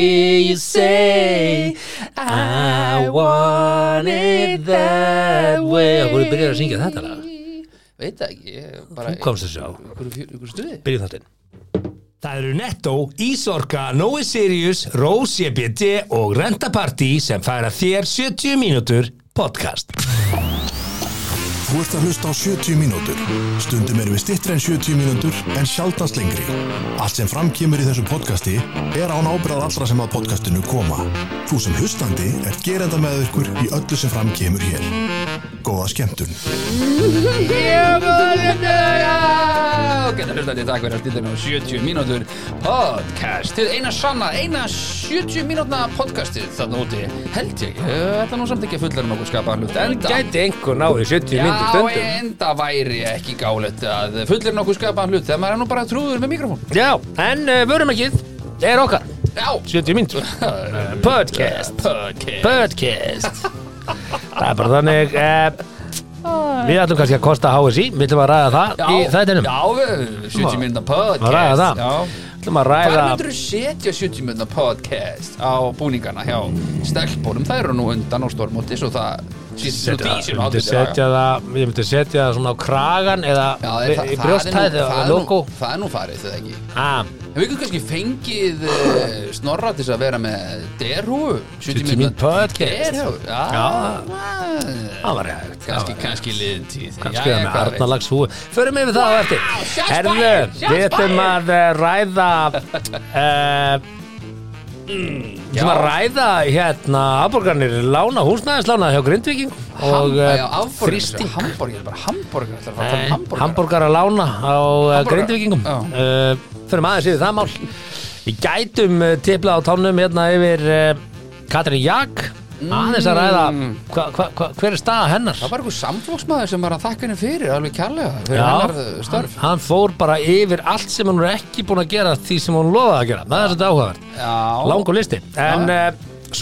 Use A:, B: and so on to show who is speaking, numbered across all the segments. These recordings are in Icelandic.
A: hear you say I want it that way Hvað er byrjar að syngja þetta lag?
B: Veit það ekki, ég bara
A: Þú komst þessu á
B: Ykkur, ykkur stuði
A: Byrjum þáttinn
C: Það eru Netto, Ísorka, Nói Sirius, Rose EBD og Renta Party sem færa þér 70 mínútur podcast.
D: Þú ert að hlusta á 70 mínútur. Stundum erum við stittri en 70 mínútur en sjaldast lengri. Allt sem framkýmur í þessu podcasti er án ábyrðað allra sem að podcastinu koma. Þú sem hlustandi er gerenda með ykkur í öllu sem framkýmur hér. Góða skemmtun.
B: Ok, það hlustaði takk fyrir að stilla með 70 mínútur podcastið Eina sanna, eina 70 mínútna podcastið þarna úti Held ég, Eh, þetta er nú samt ekki að fullar nokkuð skapa hlut Enda
A: Gæti einhver náði 70 myndir
B: Já,
A: stundum
B: enda væri ekki gálegt að fullir nokkuð skapaðan hlut þegar maður er nú bara trúður með mikrofón
A: Já, en uh, vörum ekki Er okkar
B: Já,
A: 70 myndir Podcast
B: podcast
A: Podcast Það er bara þannig uh, Við ætlum kannski að kosta HSI Við ætlum að ræða það í þættinum
B: Já, við- 70 minna podcast
A: Að ræða það.
B: Já
A: Við ætlum að
B: Hvað
A: ræða
B: myndur þú setja 70 minna podcast á búningana hjá stelpunum? Það eru nú undan á stormóti svo það sýttir út
A: Setja,
B: í
A: ég
B: sín
A: myndi setja það ég myndi setja það svona á kragan eða
B: Já, það,
A: í
B: er- það, það, er
A: brjóstæð
B: nú,
A: eða
B: það, er
A: logo
B: nú, það er nú farið þegar ekki
A: ah,
B: En við getum kannski fengið uh, snorra til þess að vera með derhú
A: 70 mínútna podcast.
B: derhú,
A: Já.
B: já
A: það var hægt
B: kannski, kannski liðin tíð
A: kannski það með Arnalags húi förum við það á eftir
B: shots
A: herðu,
B: fired, shots
A: við ætlum
B: fired.
A: að eh, ræða eh, mm, við ætlum að
B: Já.
A: ræða hérna afborgarnir lána, húsnæðislána hjá Grindvíking og eh,
B: og
A: þrýsting
B: hambúrgar, bara hambúrgar ætlar að fara að tala um hambúrgar
A: hambúrgar að lána á eh,
B: Hamborgara?
A: Grindvíkingum
B: Já.
A: uh, fyrir maður séu það mál við gætum uh, tipla á tánum hérna yfir uh, Katrin Jak
B: Mm.
A: aðeins að ræða hva, hva, hva, hver er staða hennar
B: það var einhver samflóksmaður sem var að þakka henni fyrir alveg kærlega, fyrir
A: Já.
B: hennar eh, störf
A: hann fór bara yfir allt sem hann er ekki búin að gera því sem hann lofaði að gera það er þetta áhugavert,
B: já,
A: langur listi en uh,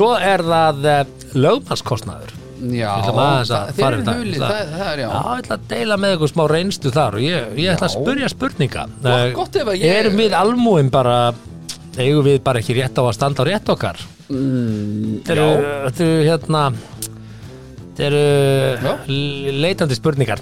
A: svo er það uh, lögmannskostnaður
B: já
A: Ég ætla bara aðeins að
B: það-
A: fara
B: þeir
A: yfir
B: eru
A: það.
B: hulið,
A: Ég ætla-
B: það það er já
A: Já, ég ætla að deila með ykkur smá reynstu þar og ég, ég ætla að
B: Já.
A: spurja spurninga Eh,
B: Gott- gott ef að ég-
A: Erum við almúin bara eigum við bara ekki rétt á að standa á rétt okkar mm, Þetta eru þetta eru, hérna Þetta
B: Já.
A: eru l- leitandi spurningar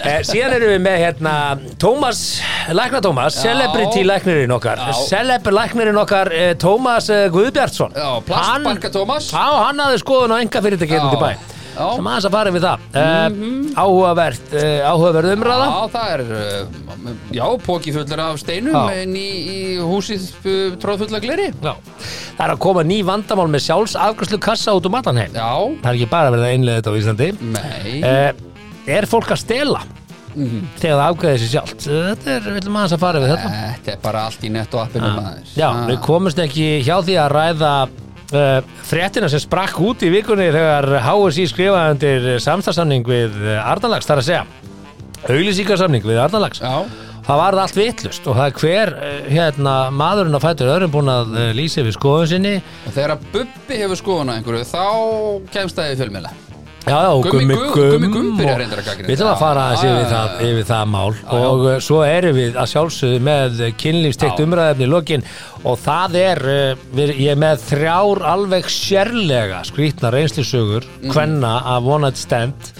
A: eh, Síðan erum við með hérna Tómas, lækna Tómas
B: Já.
A: Celebrity læknirinn okkar
B: Já.
A: Celeb læknirinn okkar eh, Tómas eh, Guðbjartsson
B: Já, plastbarka
A: Hann-
B: Tómas.
A: Já, hann hafði skoðun á enga fyrirtæki hérna
B: Já.
A: til bæ
B: Já. Mhm.
A: sem aðeins að fara við það mm áhugavert, uh, áhugaverð umræða
B: Já, það er, uh, já, póki fullar af steinum
A: Já.
B: en í, í húsið uh, tróð fullar gleri
A: Já. það er að koma ný vandamál með sjálfsafgræslu kassa út um allan heim
B: Já, Mhm.
A: það er ekki bara verið að innlega þetta á Íslandi
B: nei
A: uh, er fólk að stela
B: Mhm.
A: þegar það afgræði sér sjálft þetta er, við viljum aðeins að fara við þetta
B: Þetta er bara allt í netto appinu maður
A: Já,
B: Eh, Ah.
A: við komumst ekki hjá því að ræða uh, fréttina sem sprakk út í vikunni þegar HSI skrifaði undir samstarfsamning við Arnalags, þar að segja auglýsingarsamning við Arnalags
B: Já,
A: það varð allt vitlust og það er hver eh, hérna, maðurinn að fætur öðrum búin að eh, lýsa við skoðun sinni
B: og þegar að Bubbi hefur skoðun á einhverju þá kemst það í fjölmiðla
A: Já, já, og
B: Gummi
A: gummi
B: Gumm-
A: gum
B: Gummi Gumm byrjar reyndar að gagnrýna
A: Við ætlum að
B: þetta.
A: fara aðeins
B: Já,
A: yfir,
B: já,
A: það,
B: já.
A: yfir það mál
B: já.
A: og uh, svo erum við að sjálfsögðu með kynlífstekt
B: Já.
A: umræðefni í lokin og það er, uh, við, ég er með þrjár alveg sérlega skrýtna reynslisögur,
B: Mhm.
A: hvenna af One Night Stand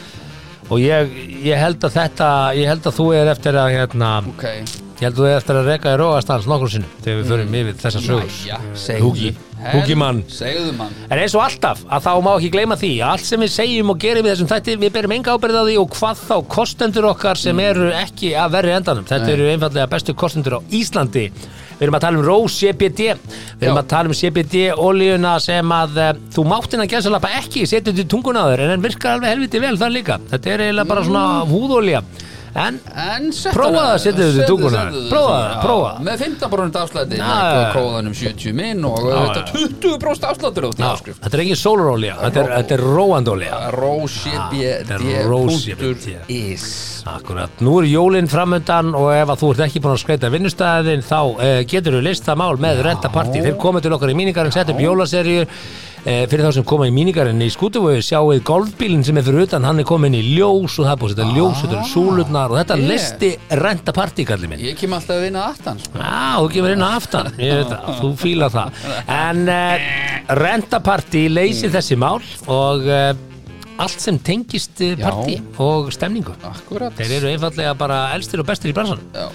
A: og ég, ég held að þetta, ég held að þú er eftir að hérna,
B: Ok,
A: ég held að þú er eftir að reka í róastans nokkur sinnum þegar við förum yfir þessar sögur
B: næja,
A: Húki, Húki mann
B: Segðu mann
A: En eins og alltaf að þá má ekki gleyma því að allt sem við segjum og gerum við þessum þætti við berum enga ábyrð á því og hvað þá kostendur okkar sem eru ekki að verri endanum þetta eru einfallega bestu kostendur á Íslandi við erum að tala um Rós CBD við erum
B: Já.
A: að tala um CBD oljuna sem að eh, þú máttin að gæðsalapa ekki setja þetta í tungunáður en hann virkar alveg helviti vel þar líka þetta er eiginlega bara svona húðolja en
B: En settu
A: Prófaðu að setja þetta í tunguna. Prófaðu,
B: Já,
A: prófaðu.
B: Með 15% afslæti
A: Já,
B: Með
A: já.
B: kóðanum 70 minn og auðvitað 20% afslættur á því
A: á,
B: áskrift
A: þetta er engin sólurolja þetta er, þetta er róandolja þetta er
B: rosebd.is
A: Akkurat, nú er jólinn framöndan og ef að þú ert ekki búin að skreita eh, vinnustæðin þá uh, getur þú list það mál með rentapartí, þeir komið til okkar í míningar og setja upp jólaserju Eh, fyrir þá sem koma í míningarinn í skútuvogu sjáuð golfbílinn sem er fyrir utan hann er komin í ljós og það er búið að setja ljós þetta eru súlurnar og þetta
B: Ah. Ég-
A: listi renta partí minn
B: Ég kem alltaf að vinna aftan sko.
A: Já, þú kemur inn á aftan, ég veit það, þú fílar það. En uh, rentapartí
B: Mm.
A: leysir þessi mál og uh, allt sem tengist eh,
B: Já.
A: partí og stemningu.
B: Akkurat
A: Þeir eru einfallega bara elstir og bestir í bransan,
B: Já,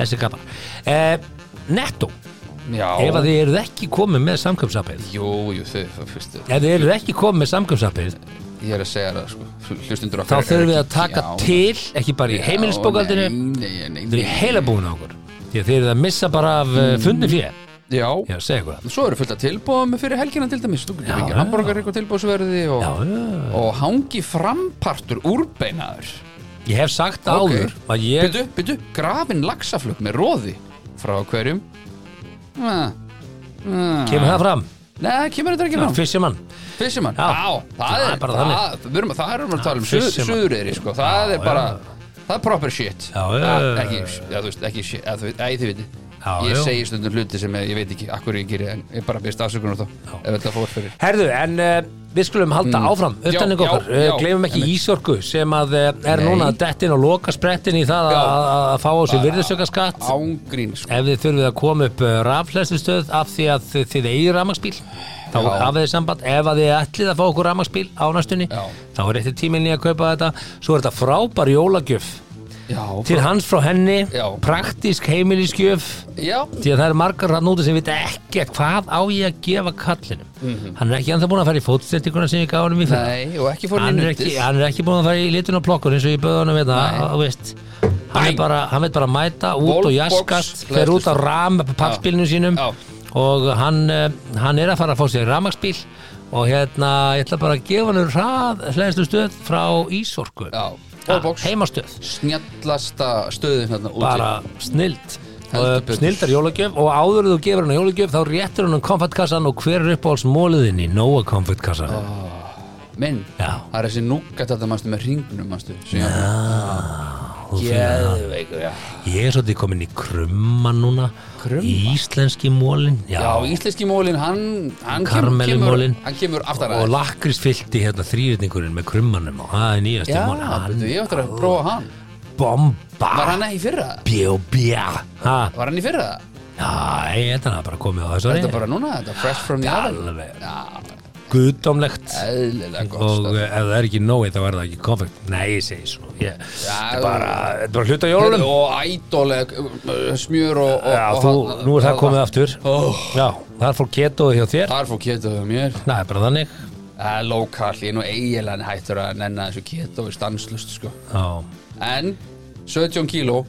A: þessi kappa. Uh, netto, ef að
B: Já.
A: þið eruð ekki komið með samkjömsappið,
B: Jú, jú, þau, það fyrstu
A: ef þið eruð ekki komið með samkjömsappið,
B: Ég er að segja það, sko Hlustundur
A: þá þurfum við að taka til, ekki bara í heimilisbókaldinu,
B: Nei, nei, nei,
A: þið
B: nei.
A: eru heila búin á okkur. Því að þið eruð að missa bara af mm. fundin fyrir,
B: Já,
A: ég er að segja ykkur það.
B: svo eru fullt að tilbúðum fyrir helgina til dæmis Þú getur
A: Já,
B: ekki
A: já.
B: hambúrgar ykkur tilbúðsverði og,
A: Já, já.
B: og hangi frampartur úrbeinaður
A: Ég hef sagt
B: Ok.
A: áður að ég
B: Byttu, byttu, grafin laxaflug með róði Frá hverjum? Ah, ah.
A: kemur það fram,
B: Nei, kemur þetta ekki fram
A: Fisherman
B: Fisherman,
A: Já.
B: já, það,
A: Það
B: er,
A: er bara þannig.
B: það, við erum, það erum að tala um
A: Já,
B: suð,
A: Fisherman.
B: suðureyri, sko, það
A: Já,
B: er bara það er proper shit
A: Já, já,
B: Það-
A: já,
B: ekki, já, þú veist, ekki shit, að, þú, að, þið viti
A: Já,
B: ég
A: já.
B: segi stundum hluti sem ég, ég veit ekki akkur ég gerir, en ég bara byrst afsökunar þá ef þetta fór fyrir
A: Herðu, en uh, við skulum halda áfram uppdanning
B: Mm. Já, já,
A: okkar, uh,
B: já.
A: gleymum ekki Ísorku sem að uh, er
B: Nei.
A: núna dettin og loka sprettin í það
B: Já.
A: að að- að fá á sig virðisaukaskatt
B: ángrín, sko,
A: ef þið þurfið að koma upp eh, rafhleðslustöð af því að þið- þið eigið rafmagsbíl þá
B: Já.
A: hafið þið samband, ef að þið ætlið að fá okkur rafmagsbíl á næstunni
B: Já.
A: þá er rétti tíminni að kaupa þetta svo er þetta frábær jólagjöf Eh,
B: já,
A: til hans frá henni,
B: Já.
A: praktísk heimilisgjöf
B: já
A: Því að það eru margar rann úti sem veit ekkert hvað á ég að gefa kallinum.
B: Mhm.
A: Hann er ekki anþá búin að fara í fótstendinguna sem ég gaf honum í fyrra.
B: nei, og ekki fór
A: hann,
B: inn
A: er
B: undir
A: ekki, hann er ekki búin að fara í litun og plokkur eins og ég böði honum við það,
B: Nei.
A: þú veist. Hann,
B: Bæ.
A: er bara, hann veit bara mæta út
B: Wallbox,
A: og jaskast, fer út á
B: hleðslustöð.
A: ram pallbílinu sínum
B: Já.
A: og hann, eh, hann er að fara að fá sér ramagsbíl og hérna, ég ætla bara að gefa hann hrað hlæðslu stöð frá Ísorku.
B: já,
A: Ha,
B: bólboks,
A: Heimastöð
B: snjallasta stöðin hérna úti
A: bara snild
B: Heldur betur.
A: snildar jólagjöf og áður en þú gefur hann jólagjöf þá réttur hann um komfattkassan og hver er uppáhalds móliðin í Nóa komfattkassan
B: minn,
A: Já.
B: það er þessi núgat þetta mannstu með ringnum mannstu já, geðveikur, já
A: ég er svolítið komin í krumma núna
B: Krumma?
A: íslenski mólin já,
B: Já, íslenski mólin, hann, hann kemur,
A: Karmelumólin.
B: kemur- hann kemur aftar
A: og
B: aðeins.
A: lakrísfylti hérna þrýrýtningurinn með krummanum og það er nýjast
B: Já,
A: mólin
B: betur, ég ættir að
A: hann Ah.
B: prófa hann Var
A: bomba
B: hann ekki í fyrra?
A: bjó bjá ha,
B: Var hann í fyrra?
A: já, ég held hann að bara komið á þessu
B: Þetta er
A: ári
B: bara núna, þetta er fresh from the oven
A: alveg.
B: Já,
A: guðdómlegt
B: eðlilega gott
A: og
B: stöð.
A: eh, ef það er ekki nógu þá er það ekki konfekt nei, ég segi svo ég,
B: Já,
A: þetta er bara, þetta er bara hluta jólunum
B: Og ædóleg smjör og, og,
A: já,
B: og
A: þú,
B: hann-
A: nú er það komið
B: hann-
A: aftur
B: Ó.
A: já, þar fór ketoði hjá þér
B: Þar fór keto hjá mér
A: það er bara þannig
B: Það er lókall, ég er nú eiginlega hættur að nenna þessu keto er stanslust sko
A: já,
B: En 17 kíló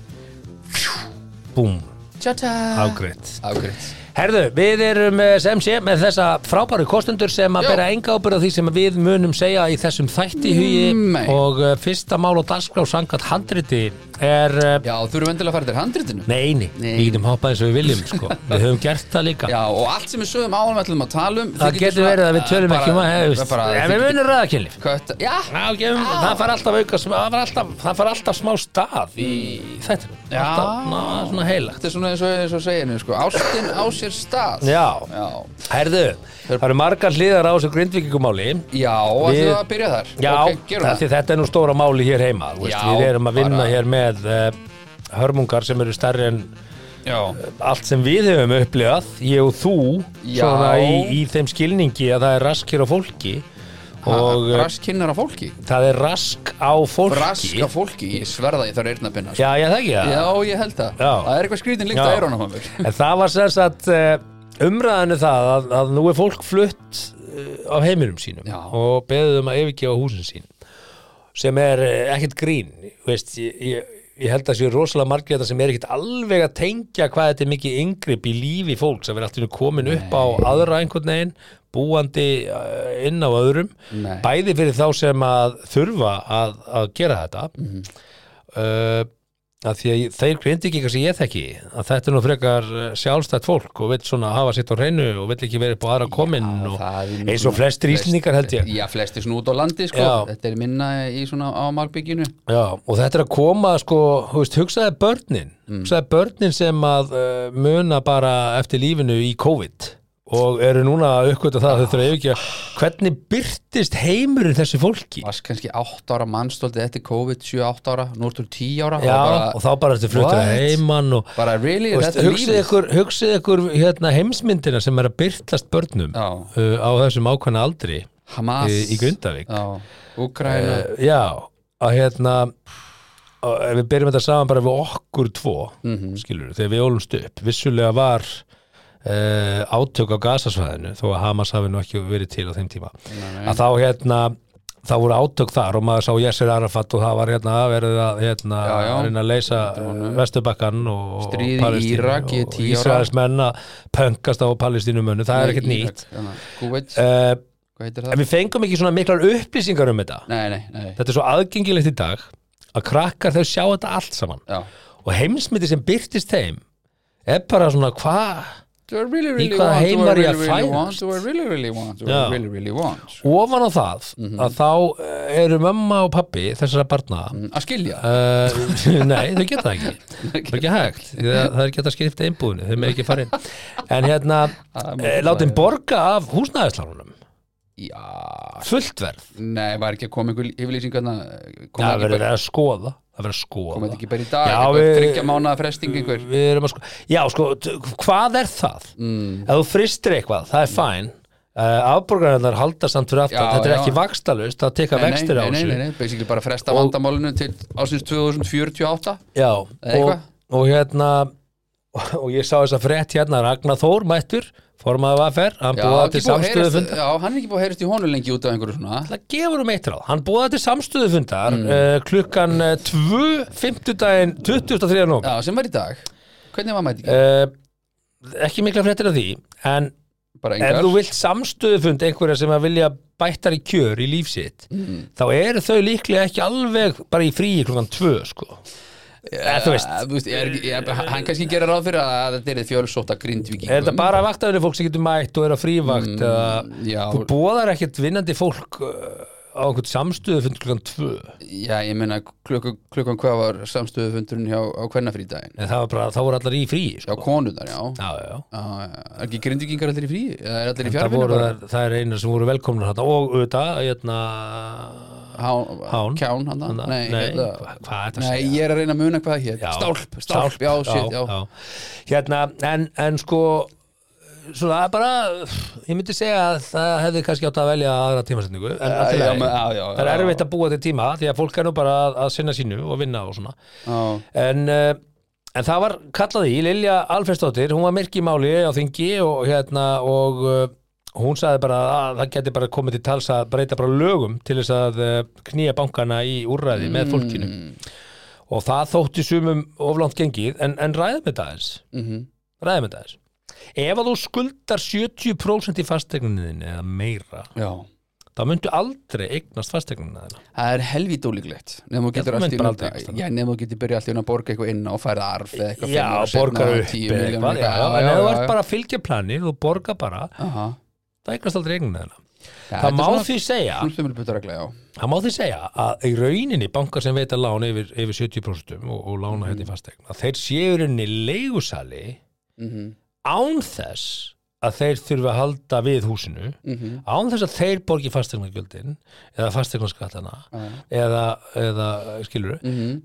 A: búm,
B: Tjata
A: afgreitt
B: Afgreitt
A: herðu, við erum eh, sem sé með þessa frábæru kostendur sem að
B: Já.
A: bera enga ábyrð á því sem við munum segja í þessum þætti hugi
B: Nei.
A: og eh, fyrsta mál og dagskrá sangat handriti er eh,
B: Já, þú eru vendilega að fara til handritinu
A: Nei, nei,
B: Nei.
A: við getum hoppað eins og við viljum sko. við höfum gert það líka
B: Já, og allt sem við sögum áðan ætlum að tala um
A: það getur verið að við tölum ekki um að hefist en við munum ræða kynlíf
B: Kött, já, um-
A: Já, gefum, það far alltaf auka smá- það far alltaf, það far alltaf smá stað í þetta
B: Já.
A: svona heilagt
B: þetta er svona eins og, eins og seginu sko. Ástin á sér stað
A: Já.
B: Já,
A: Herðu, það eru margar hliðar á þessu grindvíkingumáli
B: já ætlum
A: Við-
B: við að byrja þar
A: Já,
B: Ok, gerum
A: það,
B: það
A: því þetta er nú stóra máli hér heima þú veist,
B: Já,
A: Við erum að vinna
B: bara-
A: hér með uh, hörmungar sem eru stærri en
B: Já,
A: allt sem við höfum upplifað ég og þú
B: Já.
A: svona í, í þeim skilningi að það er rask hér á fólki og
B: og
A: eh,
B: Rask kynnar á fólki
A: það er rask á fólki
B: Rask á fólki, ég sverða ég þarf eyrnabinna sko.
A: Já, ég þekki það
B: já, ég held það
A: Já.
B: Það er eitthvað skrýtin líkt
A: Já.
B: að eyrunum á mér
A: En það var sem sagt eh, umræðinu það að, að nú er fólk flutt eh, af heimilum sínum
B: Já.
A: og beðið um að yfirgefa húsin sín sem er eh, ekkert grín veist, ég, ég, ég held að séu rosalega margir þetta sem er ekkert alveg að tengja hvað þetta er mikið yngripp í lífi fólks að vera alltaf komin upp á aðra einhvern veginn búandi eh, inn á öðrum
B: Nei.
A: bæði fyrir þá sem að þurfa að, að gera þetta uh, að því að ég- þeir grindvíkingar sem ég þekki að þetta er nú frekar uh, sjálfstætt fólk og vill svona hafa sitt á hreinu og vill ekki verið upp á aðra komin og
B: Það er nú-
A: eins og flestir
B: flest-
A: íslendingar held ég já.
B: Já, flestir svona út á landi sko.
A: Já.
B: Þetta er minna í svona á markbygginu
A: og þetta er að koma sko, þú veist, hugsaði
B: Mm.
A: eh, börnin hugsaði börnin sem að uh, muna bara eftir lífinu í COVID og eru núna að uppgöta það að þau þurfa að yfirgefa hvernig byrtist heimurinn þessu fólki
B: Varst kannski 8 ára mannstóldi eftir COVID 7-8 ára, nú ertu 10 ára
A: Já,
B: og bara,
A: og þá bara ertu fluttur
B: What?
A: að heiman og
B: bara really,
A: og veist,
B: þetta er
A: hugsið
B: lífið
A: ykkur, hugsið ykkur hérna, heimsmyndina sem er að byrtast börnum
B: Já.
A: uh, á þessum ákvæmna aldri eh,
B: Hamas
A: í, í Grindavík
B: Já, Ukraina
A: Uh, já, að hérna að ef við byrjum þetta saman bara við okkur tvo, mm
B: Mhm.
A: skilur þegar við ólumst upp, vissulega var uh, átök á gasasvæðinu þó að Hamas hafi nú ekki verið til á þeim tíma að þá hérna þá voru átök þar og maður sá Yasser Arafat og það var hérna að verið að hérna,
B: Já, já.
A: að reyna að leysa Vesturbakkan og
B: Stríð í
A: Palestínu
B: Írak í
A: og
B: tíu ára.
A: Ísraelsmenn að pönkast á Palestínumönnu, það er ekkert nýtt
B: hérna, Kúveit,
A: uh,
B: hvað heitir
A: en
B: það?
A: við fengum ekki svona miklar upplýsingar um þetta
B: Nei, nei, nei
A: þetta er svo aðgengilegt í dag að krakkar þau sjá þetta allt saman
B: Já
A: og heimsmyndi sem byrtist þeim er bara svona hvað
B: Do I really, really
A: hvaða
B: want,
A: heim
B: do I
A: var ég
B: really,
A: að
B: really
A: fæðast?
B: want, do I really, really want, do I
A: Já.
B: really, really want
A: ofan á það
B: Mhm.
A: að þá eh, eru mamma og pappi þessara barna
B: Mm, Að skilja
A: Uh, nei, þau geta það ekki það er ekki hægt, það, það er ekki hægt að skipta einbúðinu þau með ekki farin en hérna,
B: Það er
A: eh, látum borga af húsnæðislánunum Eh.
B: Já,
A: fullt verð,
B: nei, var ekki að koma einhver yfirlýsing hérna Kom
A: það
B: ekki
A: verður
B: bara-
A: að skoða það verður að skoða
B: kom þetta ekki bara í dag
A: Já,
B: eitthvað
A: við-
B: Þryggja mánaða fresting einhver
A: við erum að sko já sko, t- hvað er það
B: Mm.
A: ef þú fristir eitthvað, það er fæn uh, afborgarnar halda samt fyrir aftan
B: Já,
A: þetta er
B: já.
A: ekki vakstalust, það tekka
B: Nei,
A: vextir á
B: nei, nei, nei,
A: þessu
B: nei, basically bara fresta vandamálinu til ásins 2048
A: já,
B: Eða
A: og,
B: eitthvað?
A: og hérna og ég sá þess að frétt hérna Ragnar Þór mættur, formaði vafer hann
B: Já,
A: búaði til
B: ekki búið að
A: samstöðu
B: heyrast- já, hann er ekki búið að heyrast í honum lengi út af einhverju svona
A: Það gefur um eitt ráð, hann búaði til samstöðufundar
B: Mm.
A: uh, klukkan 2, 50 daginn 23. nóg
B: Já, sem var í dag Hvernig var mæti ekki?
A: uh, ekki mikla fréttir af því en
B: Bara
A: Eh, Ef
B: engar
A: þú vilt samstöðufund einhverja sem að vilja bættar í kjör í líf sitt
B: Mm.
A: þá eru þau líklega ekki alveg bara í fríi klokkan tvö sko. eða þú veist
B: Eh, þú veist, ég er, ekki- ég, Hann kannski gerir ráð fyrir að þetta er fjölsóta grindvíkingum
A: er þetta bara vaktafinu fólk sem getur mætt og er á frívakt
B: Mm. já.
A: eða þú bóðar ekkert vinnandi fólk uh, á einhvern samstöðufund klokkan tvö en
B: Já, ég meina klukkan, klukkan hvað var samstöðufundurinn hjá á kvennafrídaginn
A: það var bara, þá voru allar í fríi sko.
B: Já, konundar, já
A: já, já, já.
B: Já, já. Er ekki grindvíkingar allir í frí? Eða er allir í
A: Það,
B: fjárvinni
A: voru,
B: bara?
A: það er einar sem voru velkomnar þarna og auðvitað hérna,
B: Hán,
A: Hán.
B: Kján, hann það?
A: Hana-
B: Nei,
A: nei,
B: hérna,
A: hva- hvað er þetta að
B: nei,
A: segja?
B: ég er að reyna að muna hvað það hér
A: Já.
B: Stálp, stálp, já, shit, já,
A: já. Hérna, en, en sko svona bara ég myndi segja að það hefði kannski átt að velja aðra tímasetningu en allt í
B: já,
A: lagi.
B: men- já, já,
A: það er
B: já.
A: erfitt að búa til tíma því að fólk er nú bara að, að sinna sínu og vinna og svona
B: já.
A: en, eh, en það var kallað í Lilja Alfredsdóttir, hún var myrk í máli á þingi og hérna og eh, hún sagði bara að það geti bara komið til tals að breyta bara lögum til þess að eh, knýja bankana í úrræði
B: Mm,
A: með fólkinu og það þótti sumum oflant gengið en, en ræðum þetta aðeins
B: mhm.
A: ræðum þetta aðeins ef að þú skuldar 70% í fasteigninni eða meira,
B: já
A: þá myndu aldrei eignast fasteigninna þeirna
B: Það er helvít ólíklegt Nefnum þú getur
A: þú
B: allt
A: myndir
B: í einu-
A: aldrei eignast það.
B: Já, nefnum þú getur byrjað allt í hún að borga eitthvað inn og færa arf eða eitthvað
A: já,
B: fimm ára seinna,
A: borgar upp
B: 10
A: eða
B: milljónir
A: eitthvað, já, já,
B: eitthvað. Já,
A: en ef
B: já,
A: þú ert
B: já.
A: bara að fylgja plani þú borgar bara,
B: Aha.
A: það eignast aldrei eignina þeirna
B: Já,
A: það
B: þetta
A: má
B: er svona
A: því segja
B: knúsþumulputtaregla, já.
A: það má því segja að í rauninni bankar sem veita lán yfir, yfir 70% og, og lána hérna í fasteign að þeir séu í rauninni leigusali
B: Mhm,
A: án þess að þeir þurfi að halda við húsinu
B: mhm,
A: án þess að þeir borgi fasteignargjöldin eða fasteignaskattana
B: já.
A: eða, eða skilur
B: mhm.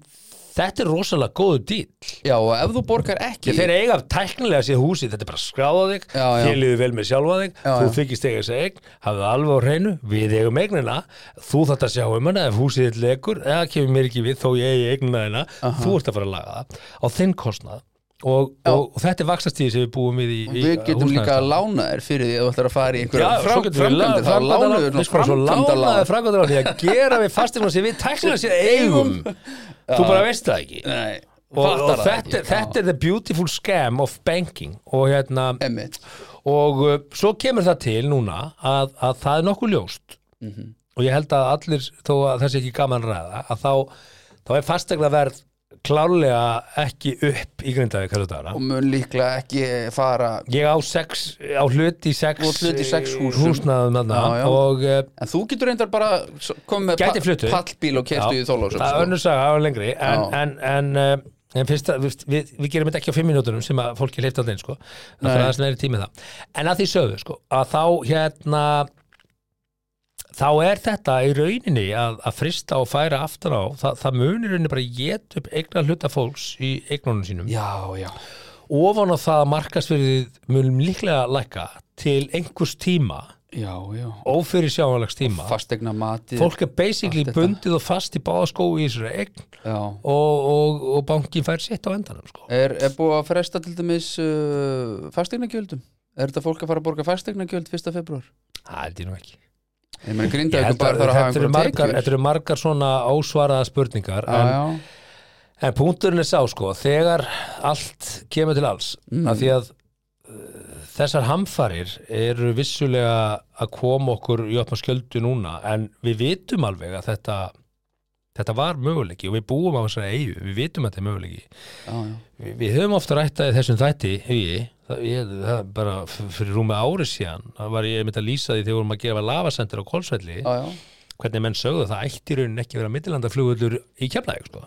A: þetta er rosalega góðu dýll
B: Já, og ef þú borgar ekki
A: þeir eiga tæknilega sér húsi, þetta er bara að skráða þig
B: Já, já.
A: þér liður vel með sjálfa þig
B: Já,
A: þú
B: já.
A: þykist eiga þess eign, hafðu alveg á hreinu við eigum eignina, þú þarft að sjá um hana ef húsið þitt lekur, eða kemur mér ekki við þó ég eigi eignina þina, þú ert að fara að laga það á þinn kostnað og, og, og þetta er vaksastíði sem við búum við í, í
B: Við getum líka að
A: húsnæðislánum.
B: lána þér fyrir því að þú ætlar að fara í einhverja
A: Já, svo getum við
B: framkvæmdir þá lána þér
A: Við skulum svo lánaði
B: framkvæmdalán
A: framkvæmdalán Því að gera við fasteignar sem við tæknilega sér eigum Þú bara veist það ekki
B: Nei,
A: Og, og
B: fattar það
A: þetta,
B: ekki.
A: þetta er the beautiful scam of banking og hérna
B: Já, einmitt.
A: og uh, svo kemur það til núna að, að það er nokkuð ljóst
B: Mhm.
A: og ég held að allir þó að þessi ekki gaman að ræða að þá, þá er fastegna verð klárlega ekki upp í grindaði kallu dagana
B: Og mun líklega ekki fara
A: ég á, sex, á hlut í sex,
B: Þú átt hlut í sex
A: eh,
B: húsum.
A: húsnæðum þarna
B: Já, já.
A: og uh,
B: En þú getur reyndar bara s- komið með
A: Gæti fluttu.
B: pallbíl og kertu í sko.
A: það
B: þóla
A: er önnur saga, það er lengri en,
B: Já.
A: en, en uh, En fyrst að, við, við, við gerum þetta ekki á fimm mínútunum sem að fólki leifta allir, sko. Það er aðeins meiri tími í það. En að því sögðu, sko, að þá hérna, þá er þetta í rauninni að, að frista og færa aftur á, það, það munir rauninni bara get upp eigna hluta fólks í eignunum sínum.
B: Já, já
A: Ofan á það að markasverðið munum líklega lækka til einhvers tíma,
B: Já, já
A: ófyrir sjáanlegs tíma.
B: Fastegna mati
A: Fólk er basically
B: Allt þetta.
A: bundið og fast í báða skói í þessari eign
B: Já
A: og, og, og bankin fær sitt á endanum, sko.
B: Er, er búið að fresta til dæmis uh, fastegnagjöldum? Er þetta fólk að fara að borga fastegnagjöld 1. februar?
A: Það er þetta nú ekki.
B: Ég meina
A: Ég
B: grinda
A: held
B: ykkur bara
A: að
B: þarf að hafa
A: þetta eru
B: einhverja
A: margar,
B: tekjur
A: þetta eru margar svona ósvaraða spurningar
B: Já,
A: en,
B: já,
A: en punkturinn er sá sko þegar allt kemur til alls
B: Mm.
A: af því að uh, þessar hamfarir eru vissulega að koma okkur í opna skjöldu núna en við vitum alveg að þetta þetta var möguleiki og við búum á þessari eigu, við vitum að þetta er möguleiki
B: já, já
A: við, við höfum ofta rættað í þessum þætti hugi, það, ég, það er bara f- fyrir rúmið ári síðan, það var ég mynd að lýsa því þegar við vorum að gefa lavasendur á Kolsvelli
B: Já, já,
A: hvernig menn sögðu það ætti í rauninni ekki að vera millilandaflugullur í keflaðið sko.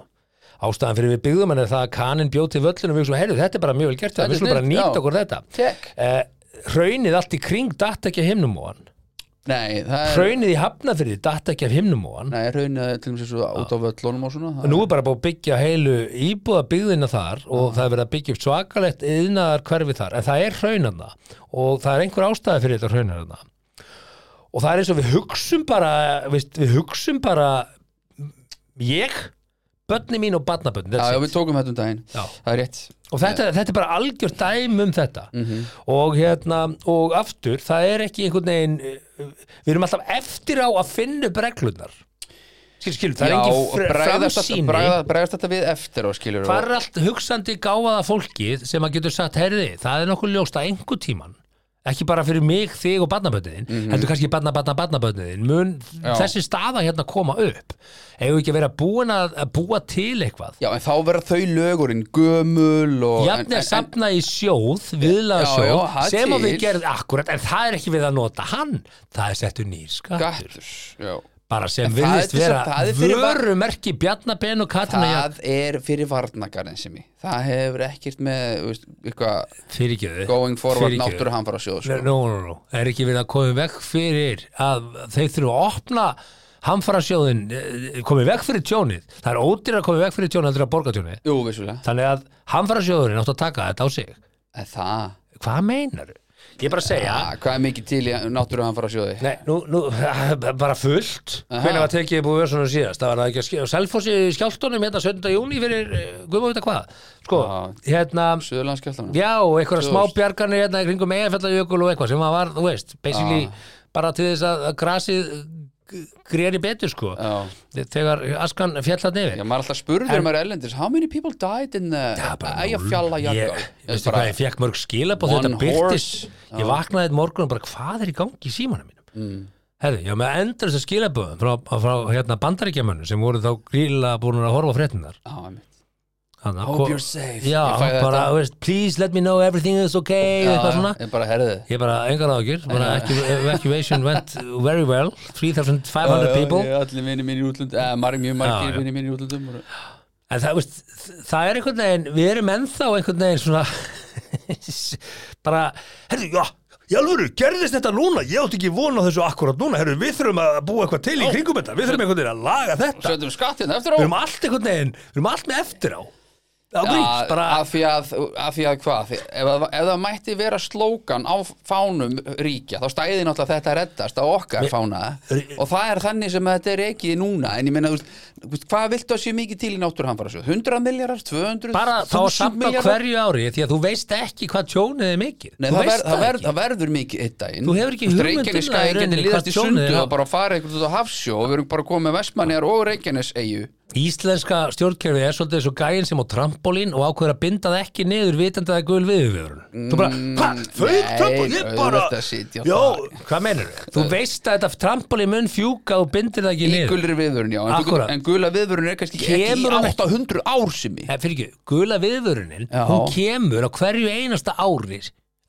A: ástæðan fyrir við byggðum hann er það að kaninn bjóti völlunum við svona, heyrðu, þetta er bara mjög vel gert
B: Þetta
A: við
B: er
A: skulum bara
B: snillt,
A: nýta
B: já.
A: okkur þetta
B: tek
A: eh, hraunið allt í kring datt ekki af himnum á hann
B: Nei, það er
A: hraunið í hafnafyrði datt ekki af himnum á hann
B: Nei, hraun er til dæmis þessu út á völlunum og svona
A: og nú er bara búið að byggja heilu íbúða byggðina þar og það er verið að byggja upp svakalegt yðnaðar hverfi þar, en það er hraunanna og það er einhver ástæði fyrir þetta hraunanna og það er eins og við hugsum bara veist, við hugsum bara ég, börni mín og barnabörni
B: Já, já, við tókum þetta um daginn
A: Já.
B: Það er rétt
A: og þetta, þetta er bara algjör dæmi um þetta
B: Mhm.
A: og hérna og aftur, það er ekki einhvern veginn eh, við erum alltaf eftir á að finna upp reglunar skil, skil, það er engin
B: og
A: fr-
B: bregðast þetta-
A: framsýni
B: bregða- Bregðast þetta við eftir og skilur
A: Hvar er allt hugsandi gáfaða fólkið sem að getur sagt, heyrði, það er nokkuð ljóst að einhver tíman, ekki bara fyrir mig, þig og barnabötniðin, heldur kannski barna, barna, barnabötniðin, mun
B: Mhm. Já.
A: þessi staða hérna koma upp eigum við ekki að vera búin að, að búa til eitthvað
B: Já, en þá verða þau lögurinn gömul og en-
A: jafnir
B: en-
A: safna í sjóð, viðlaða
B: Já, já,
A: sjóð
B: það
A: sem að við
B: til.
A: gerð akkurat, en það er ekki við að nota hann, það er settur nýr skattur,
B: Skattur, já
A: bara sem
B: En það er
A: virðist
B: til þess að-
A: vera
B: það er fyrir var-
A: vörumerki Bjarnaben og Katrina
B: Það er fyrir varnakarinn sem ég Það hefur ekkert með, þú veist, eitthvað
A: fyrirgjöðu
B: going forward náttúru hann fara að sjóð
A: Nei,
B: sko.
A: no, no, no, það er ekki verið að koma vekk fyrir að þeir þurfa að opna eh, hamfarasjóðin, komið vekk fyrir tjónið það er ódýr að komið vekk fyrir tjónið heldur að borga tjónið
B: Jú, vissulega
A: þannig að hamfarasjóðurinn átt að taka þetta á sig
B: En það,
A: hvað meinaru? Ég er bara að segja
B: að, hvað er mikið til í náttúru hann fara að sjóði
A: Nei, nú, nú, bara fullt
B: Aha.
A: Hvernig var tekið búið versunum síðast? Það var það ekki að skjá Selfossi í skjálftunum hérna 17. júni fyrir eh, guðmá vita hvað Sko, hérna
B: Suðurlandskjöldana
A: Já, og einhverja
B: Þú
A: smá
B: veist.
A: bjarganir hérna í kringum eiginfjallajökul og eitthvað sem að var, þú veist, basically
B: Já.
A: bara til þess að að grasið greri betur, sko,
B: Já,
A: þegar askan fjallat nefir.
B: Ah. já, maður er alltaf spurður um að erlendis How many people died in uh, the Æja fjalla
A: Ég,
B: jakka
A: veistu hvað, ég fekk mörg skilabóð
B: One
A: þetta byrtist,
B: horse.
A: ég vaknaði einn morgun og bara, hvað er í gangi í símanum mínum?
B: Mm.
A: Herðu, ég var með endurist að skilabóðum frá, frá hérna bandaríkjamönnum sem voru þá gríla búin að horfa á fréttinnar. Hanna,
B: Hope you're safe
A: Já,
B: Ég fæ þetta.
A: bara, þú veist, please let me know everything is okay,
B: Já,
A: eitthvað svona.
B: Ah, Ég bara herði
A: Ég bara, engar ágjur, bara ecu- evacuation went very well, 3,500 people.
B: Uh, Allir minni minni í útlöndum eh, marg- Mjög
A: Já, já.
B: margir minni minni í útlöndum voru-
A: En það, veist, það er einhvern veginn, við erum ennþá einhvern veginn svona, bara, herru, já, í alvöru, gerðist þetta núna, ég átti ekki vona þessu akkurat núna, herru, við þurfum að búa eitthvað til í kringum þetta, við þurfum einhvern veginn að laga þetta,
B: Söndum skatt hérna eftir á
A: við erum allt einhvern veginn, við erum allt með eftir á, á grís, bara,
B: af því að, af því að hvað Því- ef, það- ef það mætti vera slókan á fánum ríkja þá stæði náttúrulega þetta reddast á okkar fána
A: Ri-
B: og það er þannig sem þetta er ekki núna en ég meina, þú veist, þú veist, hvað viltu að sé mikið til í náttúruhamfarasjóð 100 miljardar, 200
A: bara þá
B: 1000
A: samt á
B: milljarðar?
A: hverju ári, því að þú veist ekki hvað tjónið er mikið,
B: Nei,
A: þú
B: það, ver,
A: veist
B: það, ver, það verður mikið eitt daginn
A: Þú hefur ekki hugmynd um
B: Reykjanes
A: það í
B: skagi
A: rauninni
B: getur liðast í
A: hvað tjónið er
B: sundu
A: á-
B: og bara fara eitthvað út á hafsjó og við erum bara komið með Vestmanniðar og Reykjanes eigu
A: Íslenska stjórnkerfið er svolítið eins og gæinn sem á trampolín og ákveður að binda það ekki niður vitandi að það er gul viðurvörun. Þú bara,
B: Mm.
A: hvað, fauk
B: nei,
A: trampolín, ég bara,
B: auðvitað sitja
A: já,
B: þar.
A: hvað meinar þau? Þú veist að þetta trampolín mun fjúka og bindir það ekki
B: Eh. Í
A: niður.
B: gulri viðvörun, já En, þú
A: Akkúrat.
B: getur- en gula viðvörun er kannski ekki í
A: Kemur hún ekki-
B: 800 ár sem í
A: Nei, Eh, fyrir ekki, gula viðvörunin,
B: Já.
A: hún kemur á hverju einasta ári,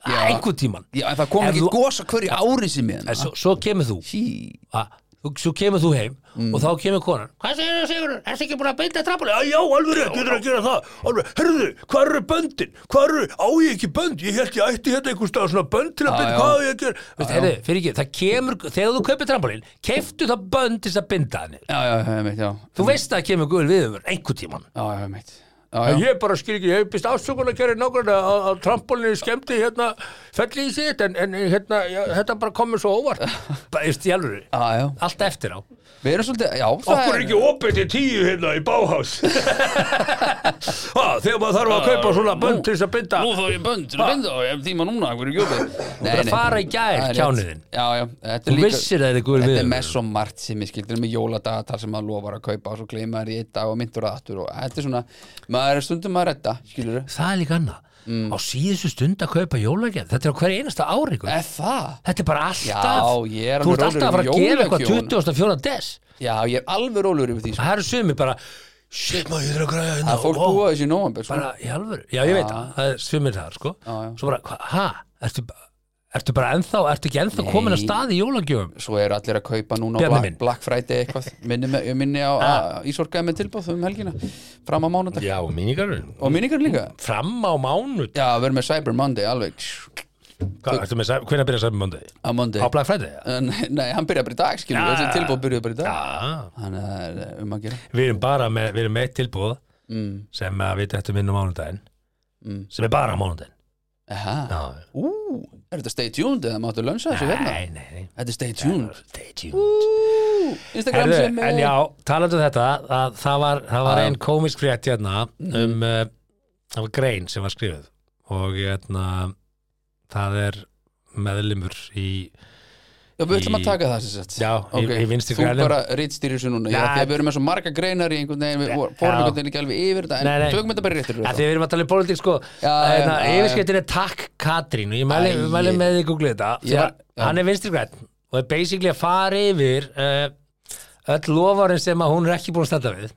B: Já.
A: einhver tíman.
B: Já, en það kom
A: Ef
B: ekki
A: þú-
B: gósa hverju ári hérna. sem í
A: En
B: hana
A: svo, svo kemur þú
B: Hí,
A: að og svo kemur þú heim og þá kemur konan hvað segir þú Sigurður, ertu ekki búin að beinta trappuna já, alveg rétt, getur að gera það alveg, herðu, hvað eru böndin, hvað eru á ég ekki bönd, ég held ég ætti hérna einhvers stað svona bönd til að
B: Já,
A: binda,
B: já.
A: hvað á ég að gera Vist, herðu, fyrir ekki, það kemur, þegar þú kaupir trampolín keiftu það bönd til þess að binda hann
B: já, já, já, mitt, já
A: þú veist að það kemur guður viður einhvern tíman
B: Já, já, mitt Já, já,
A: Ég bara skil ekki, ég hef byrst afsökun að gera nákvæmlega að, að trampolínu skemmti hérna felli í sitt en, en hérna, já, þetta bara komið svo óvart Bara, ég stjálfur
B: já, já
A: Alltaf eftir á
B: Við erum svolítið, já, það
C: Okkur er ekki opið til tíu hérna í báhás ha, Þegar maður þarf að kaupa svona bönd til þess að binda
B: Nú þá ég bönd, þú bindi á, ég hef tíma núna, hvað er ekki opið? Nei,
A: bara
B: nei.
A: fara í gær,
B: Það er rétt.
A: kjánuðinn.
B: Já, já, þetta
A: Þú
B: er líka
A: vissir að þetta er guður
B: Þetta er
A: viður.
B: með svo margt sem ég skildir með jóladagatal sem maður lofar að kaupa og svo gleymar í einn dag og myndur að aftur og þetta er svona, maður er stundum að redda, skilur þau?
A: Það er líka annað
B: Mm.
A: Á síðustu stund að kaupa jólagjörð Þetta er á hverju einasta ári ykkur.
B: Er það?
A: Þetta er bara alltaf
B: Eh. Já, ég er alveg
A: Þú ert
B: rólegur
A: alltaf að fara
B: um
A: að gera eitthvað
B: jólagjöfuna.
A: 24. des
B: Já, ég er alveg rólegur yfir því sko.
A: Það eru sumi bara Shit maður, ég þarf að græja hérna
B: að fólk
A: Vá,
B: búa þessi í nóvember sko.
A: Bara í alvöru Já, ég veit það Það er sumir það, sko
B: Já, já.
A: Svo bara, hva- ha? Ertu, ertu bara ennþá Ertu ekki ennþá
B: Nei.
A: komin að staði jólagjörðum?
B: Svo eru allir að kaupa núna á
A: Bjarni
B: Black,
A: minn.
B: Black Friday eitthvað Minni, með, ég minni á að Ísorkaði með tilbáð um helgina Fram á mánudag
A: Já, mínigarun
B: Og minningar líka
A: Fram á mánud
B: Já, við erum með Cyber Monday alveg
A: Hvað, ertu með sæ- Hvenær byrja sæmi mánuði?
B: Á Monday
A: Á Black Friday? eða?
B: Eh, Nei, nei, hann byrja bara í dag, skilur
A: Já.
B: Þessi tilbúð byrjuði bara í dag
A: Já
B: Þannig að það er um að gera
A: Við erum bara með, við erum með eitt tilbúð
B: mm.
A: sem að við dættum inn á mánudaginn
B: Mm.
A: sem er bara á mánudaginn
B: Aha.
A: Já.
B: Ú, er þetta stay tuned eða máttu lönsa þessu verna?
A: Nei, nei, nei
B: Þetta er stay tuned
A: Stay tuned
B: Ú, Instagram
A: Herðu,
B: sem
A: En já, talandi um þetta að, það var, það var
B: Já.
A: ein komisk frétt hérna um, uh, það var grein sem var skrifuð og hérna það er meðlumur í
B: Já, við ætlum
A: í-
B: að taka það sem sagt
A: Já, í-
B: Ok,
A: í vinstri
B: Þú
A: grænum.
B: bara rítstýrir þessu núna Já,
A: Já.
B: því að við erum með svo marga greinar í einhvern veginn Við vorum
A: Já.
B: einhvern veginn ekki alveg yfir þetta En
A: Nei, nei.
B: tökum þetta bara réttir
A: Já, því við erum að tala um pólitík sko
B: Já, já,
A: hérna,
B: já, já.
A: Yfirskriftin er Takk Katrín og ég mæli,
B: Æi.
A: mæli með því googlið þetta því
B: Ég
A: að
B: var- já.
A: hann er vinstri græn og er basically að fara yfir uh, öll lofarinn sem að hún er ekki búin að standa við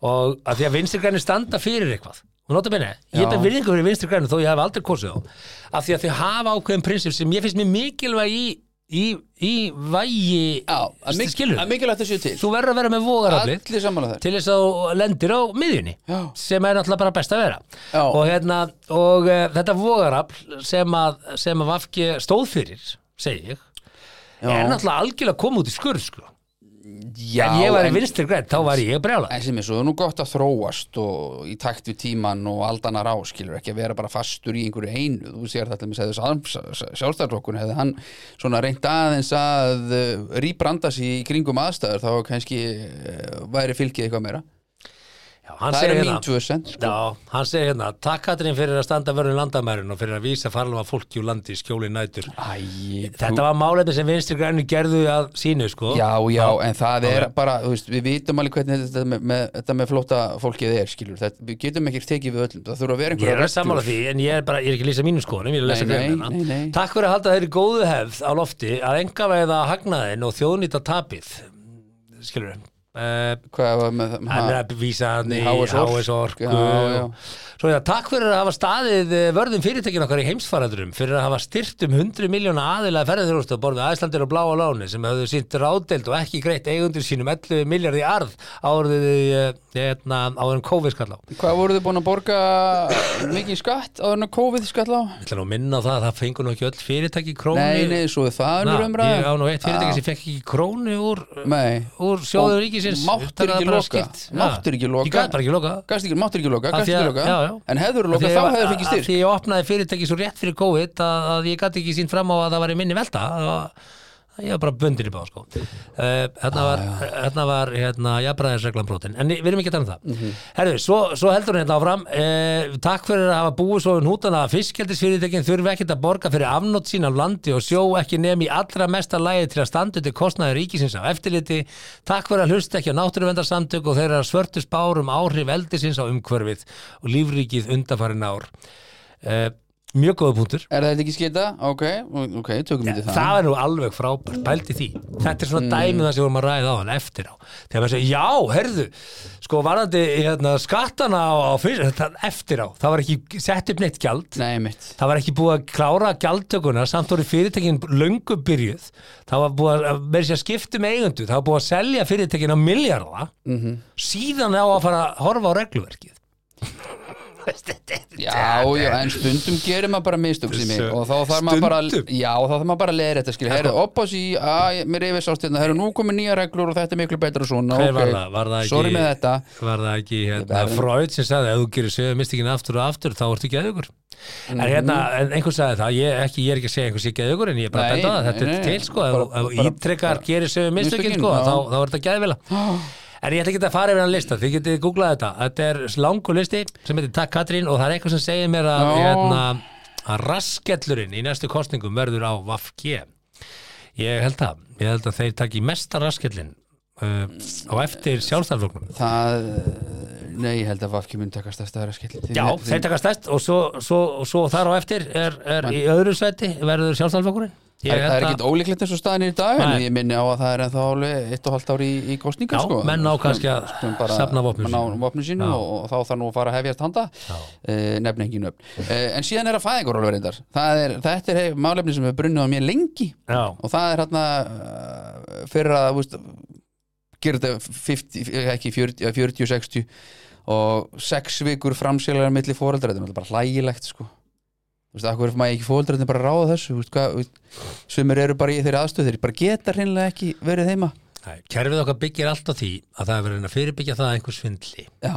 A: og að því að vinstri grænir standa fyrir eitthvað og nota minni, ég
B: Já.
A: ber virðingu fyrir vinstri grænir þó ég hef aldrei kosið þá af því að þau hafa ákveðin prinsip sem ég finnst mér mikilvæg í, í, í vægi
B: Já, að mik-
A: skilur,
B: að mikilvægt þessu til
A: þú verður að vera með vogaraflið
B: Allir sammála þar
A: til þess að þú lendir á miðjunni
B: Já.
A: sem er náttúrulega bara best að vera
B: Já.
A: og, hérna, og uh, þetta vogarafl sem að, sem að Vafki stóð fyrir segi ég, er náttúrulega algjörlega að koma út í skurð sko.
B: Já,
A: en ég var í
B: en-
A: vinstri græn, þá var ég brjála
B: En sem er svo, það er nú gott að þróast og í takt við tíman og aldanar á skilur ekki að vera bara fastur í einhverju einu þú sér þetta með þess að sjálfstæðlokkun hefði hann svona reynt aðeins að uh, rýbranda sig í kringum aðstæður þá kannski uh, væri fylgið eitthvað meira
A: Já, hann
B: Það
A: segir
B: er
A: hérna-
B: mín tvö sent sko.
A: Já, hann segir hérna, takk Katrín fyrir að standa vörðin landamærin og fyrir að vísa farlega fólki úr landi í skjóli nætur.
B: Æ,
A: Þetta var málefni sem vinstri grænu gerðu að sínu, sko.
B: Já, já, en það er bara, þú veist, við vitum alveg hvernig þetta með, með, þetta með flóta fólkið er, skilur, þetta, við getum ekki tekið við öllum, það þurfa að vera
A: Ég
B: einhverja
A: er að samála því, en ég er bara, ég er ekki að lýsa mínum skoðunum, ég er að lesa
B: Nei, nei,
A: greinina.
B: nei, nei.
A: Takk fyrir að halda þeirri góðu hefð á lofti að enga veiða hagnaðin og þjóðnýta tapið, Eh, skilur við.
B: Hvað var með það?
A: hann er að vísa hann í
B: Í
A: HS
B: HS Orku.
A: Orku
B: Já, já.
A: og- Svo er það takk fyrir að hafa staðið eh, vörðum fyrirtækin okkar í heimsfaraldurum fyrir að hafa styrt um 100 miljóna aðila ferðarþjónustu að borðið Æslandir og Bláa Láni sem hafðu sínt ráðdeild og ekki greitt eigundur sínum 11 miljardi arð áriði hérna, áður en COVID skall á
B: Hvað voruð þið búin að borga mikið í skatt áður en að COVID skall á?
A: Ég ætla nú að minna á það að það fengur nú ekki öll fyrirtæki krónu
B: Nei, nei, svo er það
A: Na,
B: önnur umræða
A: Ég á nú eitt fyrirtæki
B: Já.
A: sem fekk ekki krónu úr,
B: Nei,
A: úr sjóðu ríkisins
B: Og máttir
A: Það er
B: ekki
A: bara
B: loka.
A: skýrt. Já.
B: Máttir ekki loka.
A: Ég gæt bara ekki loka
B: gast ekki, máttur ekki loka,
A: Af
B: gast
A: því að-
B: ekki loka
A: já, já.
B: En hefur þú
A: Af
B: lokað,
A: því
B: þá
A: að-
B: hefur þú ekki
A: af Því
B: styrk
A: að ég opnaði fyrirtæki svo rétt fyrir COVID að, að ég gæti ekki sínt fram á að það var í minni velta að, að ég var bara bundir í bá sko. uh, hérna, var, hérna var hérna jafnbræðisreglan brotin en við erum ekki að tala um það Herðu, svo, svo heldur hún hérna áfram uh, takk fyrir að hafa búið svo nútan að fiskeldisfyrirtækin þurfi ekkert að borga fyrir afnót sín af landi og sjó ekki nefn í allra mesta lægi til að standa til kostnaði ríkisins á eftirliti takk fyrir að hlusta ekki á náttúruvendarsamtök og þeirra svörtu spár um áhrif eldisins á umhverfið og lífríkið undanfarin ár Eh, mjög góða punktur
B: Er þetta ekki skita? Ok, ok, tökum við það
A: það er nú alveg frábært, pældi því þetta er svona mm. dæmið það sem vorum að ræða á hann eftir á þegar maður segir, já, herðu sko varandi hérna, skattana á, á fyrst, þetta eftir á, það var ekki sett upp neitt gjald
B: Nei, mitt
A: Það var ekki búið að klára gjaldtökuna samt voru fyrirtekin löngu byrjuð það var búið að verið sér að skipta með eigundu það var búið að selja fyrirtekin á miljarda síðan á að fara að horfa á regluverkið
B: Já, já, en stundum gerir maður bara mistök sem ég
A: Þessu-
B: og þá þarf maður bara
A: Stundum?
B: Já, þá þarf maður bara að leira þetta skil Herru, oppas í, að, mér yfir sást hérna Herru, nú komið nýja reglur og þetta er miklu betra og svona
A: Hver
B: ok.
A: var það? Var það ekki-
B: Sorry með þetta
A: var það ekki hérna,
B: verðum-
A: Freud sem sagði að þú gerir sögðu mistíkin aftur og aftur þá ertu geðugur en hérna, en einhver sagði það, ég, ekki, ég er ekki að segja einhver sé geðugur en ég er bara að
B: Mhm. Nei,
A: benda á það, þetta
B: nei,
A: er
B: nei.
A: til sko,
B: Bara-
A: ef- ef
B: bara-
A: ítrekkar gerir sögðu mistökin
B: mistökin,
A: sko,
B: já.
A: þá, þá er þetta geðvila en ég ætla ekki að fara yfir hann lista, þið getið googlað þetta þetta er langu listi sem heitir Takk Katrín og það er eitthvað sem segir mér að,
B: Já.
A: hérna, að raskellurinn í næstu kostningum verður á VFG ég held það, ég held að þeir taki mesta raskellin uh, á eftir sjálfstæðarfloknum
B: Það, eh, nei, ég held að Vafki mun takast að staðra skil
A: Já, þeir taka stærst og svo, svo, svo þar á eftir er, er í öðru sæti verður sjálfstæðarflokkurinn Ég
B: Það, það er
A: held að-
B: ekkit ólíklegt eins og staðin er í dag en
A: Nei.
B: ég minni á að það er ennþá alveg eitt og hálft ár í, í kostningu
A: Já,
B: sko.
A: menn á
B: Skulum-
A: kannski að
B: skulum bara-
A: safna vopnum
B: menn á
A: sínum.
B: vopnum sínu
A: Já.
B: og, og þá þarf nú að fara að hefjast handa uh, nefn ekki nöfn uh, en síðan er að fæðingur alveg reyndar Það er, þetta er hef, málefni sem er brunnið á mér lengi
A: Já,
B: og það er hérna uh, fyrir að þú veist, gera þetta 50, ekki 40, eða 40 60 og sex vikur framsélagir milli fóreldra, þetta er náttúrulega bara hlægilegt sko Þú veist, akkur er maður ekki fóreldræðin bara að ráða þessu, þú veist, hvað, þú veist, sumir eru bara í þeirri aðstöð, þeir bara geta hreinlega ekki verið heima.
A: Nei, kerfið okkar byggir allt á því að það er verið að fyrirbyggja það að einhver svindli
B: Já,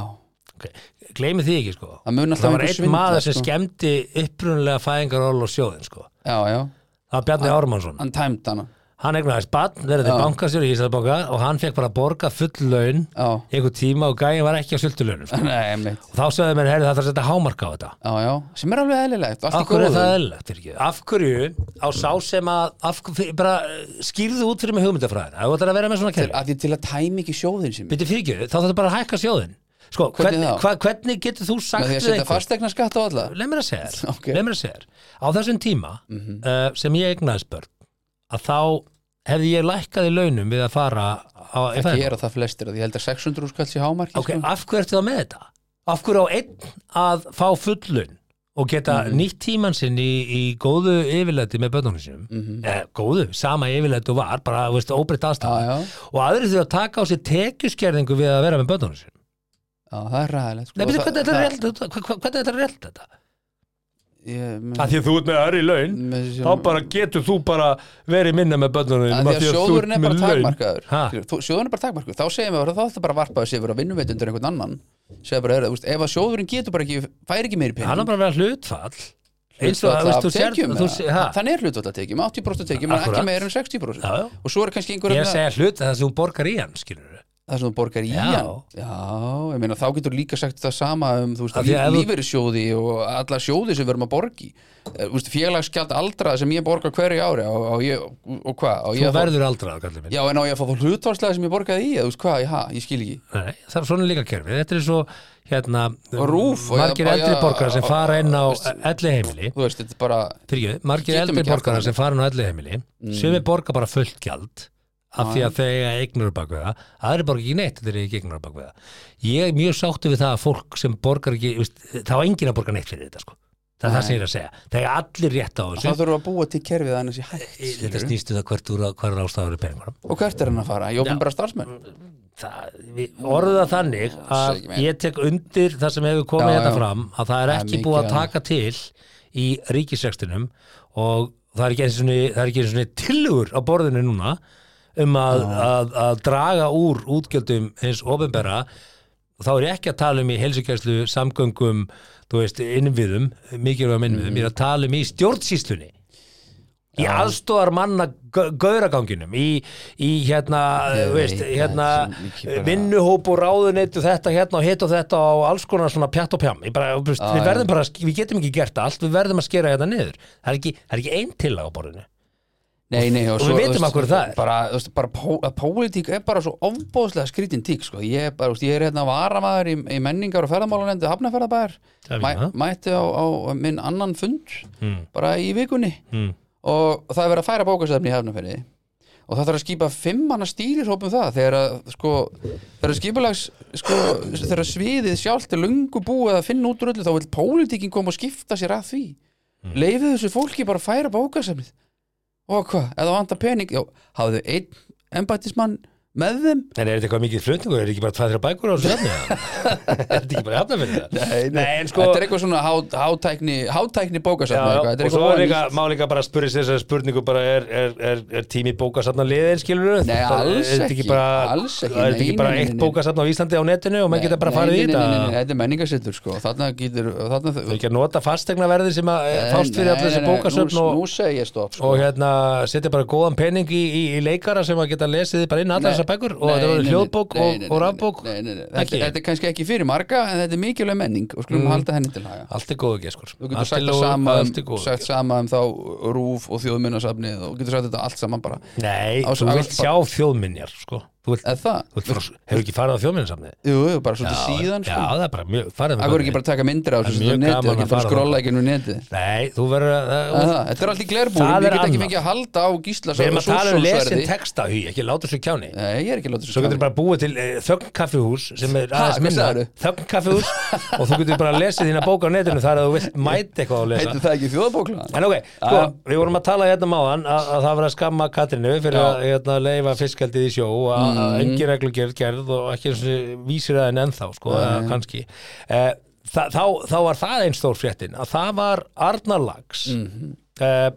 A: okay. Gleimi því ekki sko
B: Það mun alltaf
A: Það var
B: einhver
A: einn
B: svindla,
A: maður sem
B: sko.
A: skemmdi upprunlega fæðingaról og sjóðin sko
B: já, já,
A: Það var Bjarni Ármannsson
B: hann tæmt hana,
A: Hann eignaðist bann, verðið
B: Já.
A: bankastjóri í Íslandbanka og hann fekk bara að borga full laun
B: já,
A: í einhver tíma og gæin var ekki á sultulaunum sko.
B: nei, einmitt,
A: og þá sögðu mér, heyrðu það þarf að setja hámarka á þetta
B: já, já, sem er alveg eðlilegt,
A: Af
B: allt í
A: hverju er
B: góðu.
A: það eðlilegt, fyrir ekki? Af hverju á sá sem að, af, fyrir, bara eh, skýrðu út fyrir mig hugmyndafræðina, það ætlar að vera með svona
B: Til,
A: kerfi.
B: að því til að tæmi ekki sjóðin sem
A: Byrju fyrir þá þarf bara að hækka sjóðin. Sko,
B: Hvernig
A: hvernig,
B: þá?
A: hva, hvernig getur þú sagt
B: með því að setja fastegna skatt á alla
A: Leið mér að segja þér,
B: Ok.
A: leið mér að segja þér. Á þessum tíma uh, sem ég eignaðist börn, að þá hefði ég lækkað í launum við að fara á, í
B: það
A: fæðingu.
B: gera það flestir að ég held að 600 skall sé hámarki
A: Ok,
B: sko.
A: af hverju ertu þá með þetta? Af hverju á einn að fá fullun og geta
B: Mhm.
A: nýtt tímann sinn í, í góðu yfirleiti með börnunum sínum
B: Mhm.
A: eh, góðu, sama yfirleiti og var bara, þú veist, óbreytt
B: já,
A: aðstæða
B: já,
A: og aðrir þurfa að taka á sér tekjuskerðingu við að vera með börnunum sínum
B: já, það er ræðilegt sko.
A: Nei, betur,
B: Og
A: hvernig
B: það-
A: þetta er
B: það-
A: rétt þetta? Hva- hva- hvernig þetta er rétt þetta?
B: ég- með-
A: Að því að þú ert með öðru í laun
B: Mm, með þessum-
A: þá bara getur þú bara verið minna með börnunum
B: að því að sjóðurinn er bara takmarkaður
A: Ha?
B: Skilur, þú- sjóðurinn er bara takmarkaður, þá segjum við að þá þetta bara varpaði sér að vinnum veitundur einhvern annan segjum bara, er, úst, ef að sjóðurinn getur bara ekki fær ekki meiri
A: hann
B: pening
A: er bara að vera hlutfall eins og
B: Hlutfall
A: að
B: af
A: veist, þú sér
B: tekjum,
A: þú
B: eða?
A: sér- ha?
B: þannig er hlutvallt að tekjum, 80% tekjum en ekki
A: Akkurat.
B: meira en 60%
A: Já, já.
B: og svo er kannski einhver
A: ég er að
B: hérna-
A: segja hlut að það sem þú borgar í hann skilur við
B: það sem þú borgar í
A: Já.
B: hann já, ég meina þá getur líka sagt það sama um þú veist,
A: Af því
B: lí,
A: að ef þú-
B: lífeyrissjóði og alla sjóði sem við erum að borgi félagsgjald aldrað sem ég borgar hverju ári og, og, ég, og hvað á ég
A: Þú
B: að fá-
A: verður aldrað, kallið minn.
B: já, en á ég að fá þú hlutvarslega sem ég borgaði í eða þú veist hvað, já, ég skil ekki
A: Nei, það er svona líka kerfið. Þetta er svo, hérna,
B: Og RÚV, og
A: margir
B: eða-
A: eldri
B: já,
A: borgarar sem
B: og-
A: fara inn á e- elli heimili.
B: þú veist, þetta er bara
A: margir
B: Getum
A: eldri
B: ekki haft
A: borgarar
B: það. Mm.
A: sem fara inn á elli heimili. Sumi borga bara fullt gjald af því að þeir eiga eignur bak við það. Aðri borga ekki neitt, þeir eiga ekki eignur bak við það. Ég er mjög sáttu við það að fólk sem borgar ekki, veist, þá á enginn að borga neitt fyrir þetta, sko. Það er það sem ég er að segja. Það er allir rétt á
B: þá
A: þessu.
B: þurfum við að búa til kerfið annars í hægt
A: Þetta
B: skilurðu.
A: snýstu það hvert úr að hver ástæður er peningunum.
B: og hvert er hann að fara, ég opin bara starfsmenn
A: það, við orða þannig að
B: Segi mér.
A: ég tek undir það sem hefur komið
B: Já,
A: þetta
B: já.
A: fram að það er
B: Það er
A: ekki
B: mikið
A: búið að
B: annað.
A: taka til í ríkisrekstinum og það er ekki eins og það er ekki eins og tilugur á borðinu núna um að, að, að draga úr útgjöldum hins ofinbera og þá er ég ekki að tala um í helsugjæslu samgöngum, þú veist, innviðum mikilvægum innviðum, ég er
B: Mhm.
A: að tala um í stjórnsýslunni í aðstóðar manna gauraganginum í, í hérna,
B: Ég
A: þú veist,
B: veit
A: hérna
B: það sem ekki bara-
A: vinnuhóp og ráðuneytu þetta hérna og hitt og þetta og alls konar svona pjatt og pjam Ég bara, þú veist, við
B: Já, já.
A: hérna verðum bara, að sk- við getum ekki gert allt við verðum að skera þetta niður það er ekki, það er ekki ein tillaga á borðinu
B: Nei, nei, og,
A: Og
B: svo,
A: við vitum
B: þú veist,
A: af hverju það er.
B: bara, þú veist, bara pó, að pólitík er bara svo ofbóðslega skrítin tík sko. ég, er bara, þú veist, ég er hérna varamaður í, í menningar og ferðamálanendu hafnafærðabæðar
A: Það er
B: mæ,
A: fínt,
B: mætti á, á minn annan fund bara í vikunni mm. og það er verið að færa bókasöfni í hafnafærði og það þarf að skipa fimm manna stýrishóp um það þegar að, sko, þegar að skipulags sko, þegar að sviðið sjálft er lungu búið að finna út úr öllu þá vil pólitíkin koma og skipta sér að því mm. þessu fólki bara að færa bókasöfnið og hvað, ef það vantar pening já, hafðu einn embættismann með þeim
A: En er þetta eitthvað mikið flutningur? Er þetta ekki bara tvað þrjá bækur á þessu efni? er þetta ekki bara efna fyrir það? Nei, en sko
B: þetta er eitthvað svona há, hátækni, hátækni
A: Já,
B: bókasafn
A: já,
B: eitthvað, þetta
A: og svo er
B: ofan í-
A: líka, má líka bara spyrja sér þessar spurningu bara er, er, er, er tími bókasafna liðin skilur
B: Nei, alls
A: er, þetta
B: ekki,
A: bara,
B: alls
A: er
B: ekki,
A: þetta
B: nei,
A: ekki bara
B: nei, nei,
A: eitt
B: nei.
A: bókasafna á Íslandi á netinu og maður geta bara
B: Nei,
A: farið
B: nei,
A: í
B: nei,
A: þetta
B: nei, nei, nei, þetta er menningarsettur sko þarna getur þarna,
A: Þau ekki að nota fastegnaverði sem að eh, fást fyrir allir þessi bókasöfn
B: nú,
A: og,
B: nú segi ég stopp sko.
A: og hérna setja bara góðan penning í, í, í leikara sem að geta lesið bara inn allar
B: Nei,
A: þessar bækur og
B: nei,
A: þetta
B: nei,
A: voru
B: nei,
A: hljóðbók
B: nei, nei,
A: og,
B: nei,
A: og
B: nei,
A: rafbók
B: nei, nei, nei, þetta,
A: Ekki? Mm.
B: þetta er kannski ekki fyrir marga en þetta er mikilvæg menning og skulum halda henni til haga
A: allt er góðu geskur
B: þú getur sagt, það sama, um, sagt sama um þá rúf og þjóðmunasafnið og getur sagt þetta allt saman bara
A: nei,
B: á-
A: þú
B: á-
A: vilt sjá þjóðminjar sko. þú vilt,
B: eða það,
A: þú vilt fara, hefur ekki farið á þjóðminjarsamni
B: jú, jú, bara svolítið síðan
A: já,
B: sko.
A: það er bara mjög farið
B: Akkur ekki bara taka myndir á
A: Það er
B: þessu
A: mjög
B: neti
A: gaman
B: og ekki
A: að
B: bara
A: fara
B: skrolla
A: þangað.
B: ekki nú neti
A: nei, þú verður að
B: Það,
A: það-
B: það, þetta er allt í glerbúrum,
A: Það er
B: ég get ekki
A: annað.
B: fengið að halda á gísla
A: við erum að tala um lesin
B: Súrsonsverði.
A: texta hý, ekki láta svo kjáni
B: Nei, ég er ekki látið
A: Svo getur bara búið til e, þögnkaffihús sem er
B: Ha,
A: aðeins
B: hvað
A: minna
B: sagðirðu?
A: þögnkaffihús og þú getur bara lesið þína bók á netinu þar að þú vilt mæta eitthvað að lesa
B: Heitir það ekki þjóðbókla?
A: En ok, sko,
B: Ah.
A: við vorum að tala hérna máðan að, að það var að skamma Katrinu fyrir
B: Já. Mhm.
A: að hérna, leifa fiskaldið í sjó og að mm. engin reglugjörð gerð og ekki eins og þessi vísir að henni ennþá, sko, eða kannski eh, þa, þá, þá var það einn stór fréttin að það var Arnarlags
B: Mhm.
A: mm. eh,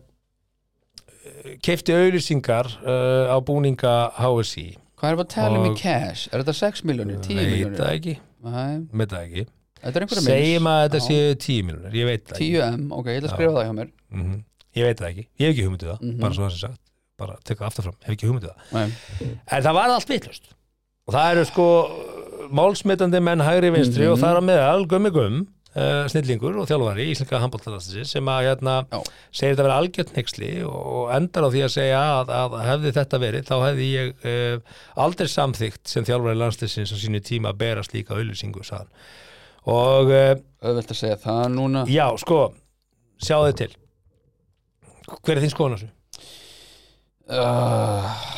A: keifti auðlýsingar eh, á búninga HSI
B: Hvað erum við að tala um í
A: Og-
B: cash? Er þetta 6 miljonir,
A: veit
B: 10
A: það
B: miljonir?
A: ekki,
B: Nei,
A: veit það ekki
B: þetta er einhverja
A: segjum að þetta
B: Já.
A: séu 10 miljonir, ég veit það ekki
B: 10 M, ok, ég ætla að skrifa það hjá mér
A: Mhm. ég veit það ekki, ég hef ekki hugmyndið það bara
B: Mhm.
A: svo það sem sagt, bara tekka aftur fram hef ekki hugmyndið það
B: Nei.
A: En það var allt vitlust og það eru sko málsmitandi menn hægri vinstri og það er að meðal gummi gum uh, snillingur og þjálfari í Íslinga handbóltalastinsins sem að hérna,
B: Já.
A: segir þetta vera algjört nexli og endar á því að segja að, að hefði þetta verið þá hefði ég uh, aldrei samþygt sem þjálfari landstinsins á sínu tíma að bera slíka auðlýsingu sann. og uh,
B: Öðvöld að segja það núna
A: já sko sjáðu til hver er þín skoðan á þessu?
B: uh,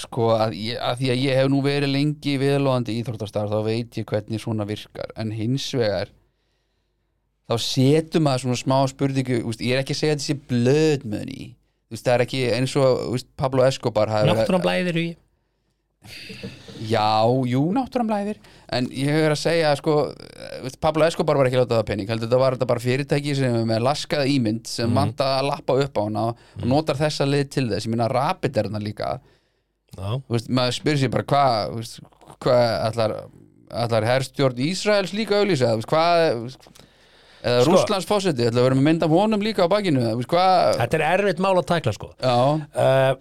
B: Sko, að, ég, að því að ég hef nú verið lengi viðlóðandi íþróttastar þá veit ég hvernig svona virkar en hins vegar þá setur maður svona smá spurningu úst, ég er ekki að segja þessi blöð mönni það er ekki eins og úst, Pablo Escobar hafi verið-
A: Náttúran blæðir í
B: Já, jú, náttúran blæðir En ég hefur að segja, sko eh, veist, Pablo Escobar var ekki látað að pening heldur þetta var þetta bara fyrirtæki sem er með laskað ímynd sem
A: Mhm.
B: mm. að lappa upp á hana og notar þessa lið til þess, ég minna rapid er hana líka
A: Já,
B: Þú veist, maður spyrir sér bara hvað þú veist, hvað allar, allar herstjórn Ísraels líka auðlýsa eða, þú veist, hvað eða
A: Sko.
B: Rússlands fósetti, ætla að vera með mynd af honum líka á bakinu, eða, þú veist, hvað
A: þetta er erfitt mál að tækla sko
B: Já,
A: uh,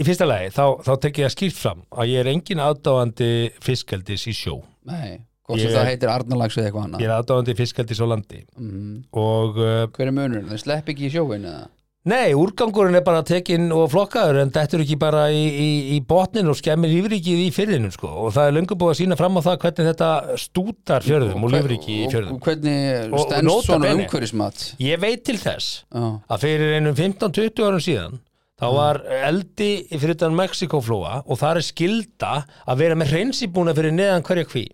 A: í fyrsta lagi þá, þá tek ég að skýrt fram að ég er engin aðdáandi fiskeldis í sjó
B: nei, hvort sem
A: Ég-
B: það heitir Arnalags eða eitthvað
A: ég
B: annað
A: er aðdáandi fiskeldis á landi
B: mm.
A: og uh,
B: Hver er munurinn, það slepp ekki í sjóin eða?
A: nei, úrgangurinn er bara tekinn og flokkaður en þetta er ekki bara í, í, í botnin og skemmir lífrikið í fjörðinum sko og það er löngu búið að sína fram á það hvernig þetta stútar fjörðum og lífriki í
B: Og
A: fjörðum
B: hvernig
A: Og- og nota
B: stendst svona
A: bene.
B: umhverfismat
A: ég veit til þess
B: Já,
A: að fyrir einum 15-20 árum síðan þá
B: Mm.
A: var eldi fyrir utan Mexikoflóa og það er skilda að vera með hreinsibúna fyrir neðan hverja kví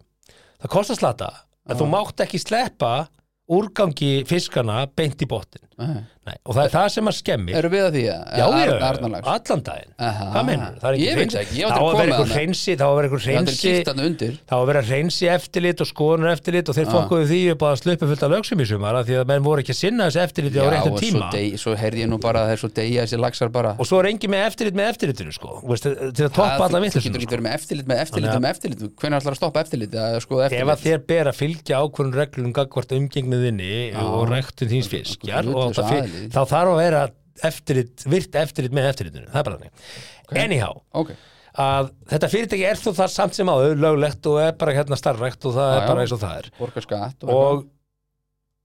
A: það kostar slata en þú mátt ekki sleppa úrgangi fiskana beint í botnin
B: nei.
A: Nei, og það er það sem að skemmir
B: Eru við að því
A: Já,
B: að
A: já,
B: Arnarlags
A: allan daginn
B: Aha.
A: Hvað meinar? Það er
B: Ah, Ég veit
A: ekki
B: það ekki, ég
A: hreins- Þá
B: var til að
A: að
B: koma
A: vera
B: þarna.
A: einhver hreinsi Þá að vera einhver
B: Það er
A: hreinsi
B: kýrt hann undir
A: Það var að vera reynsi eftirlit og skoðunar eftirlit og þeir
B: Ah.
A: fokkuðu því upp á að sluppu fullt af lögsum í sumar af því að menn voru ekki að sinna þessu eftirliti á
B: og
A: réttum
B: svo,
A: tíma
B: dey, svo heyrði ég nú bara að það er svo deyja þessi laxar bara
A: og svo er engin með eftirlit með eftirlitinu sko Þú veist, til að
B: Það-
A: toppa alla
B: Þú
A: vitlusinu
B: getur ekki
A: sko.
B: verið með eftirlit með eftirlit
A: Þannig að-
B: með eftirlit Hvernig ætlar að stoppa eftirlit að skoða
A: ef að
B: sko eftirlit
A: þér ber að fylgja ákvörðun reglum gagvart umgengniðinni og rektun þíns fiskjar
B: Akkur-
A: og
B: hlutlausu
A: það fyr-
B: aðili.
A: þá þarf að vera eftirlit, virt eftirlit með eftirlitinu það er bara þannig anyhow
B: Ok,
A: að þetta fyrirtæki er þú það samt sem áður löglegt og er bara hérna starrekt og það
B: Já,
A: er
B: já.
A: bara eins og það er
B: borgar skatt og,
A: og,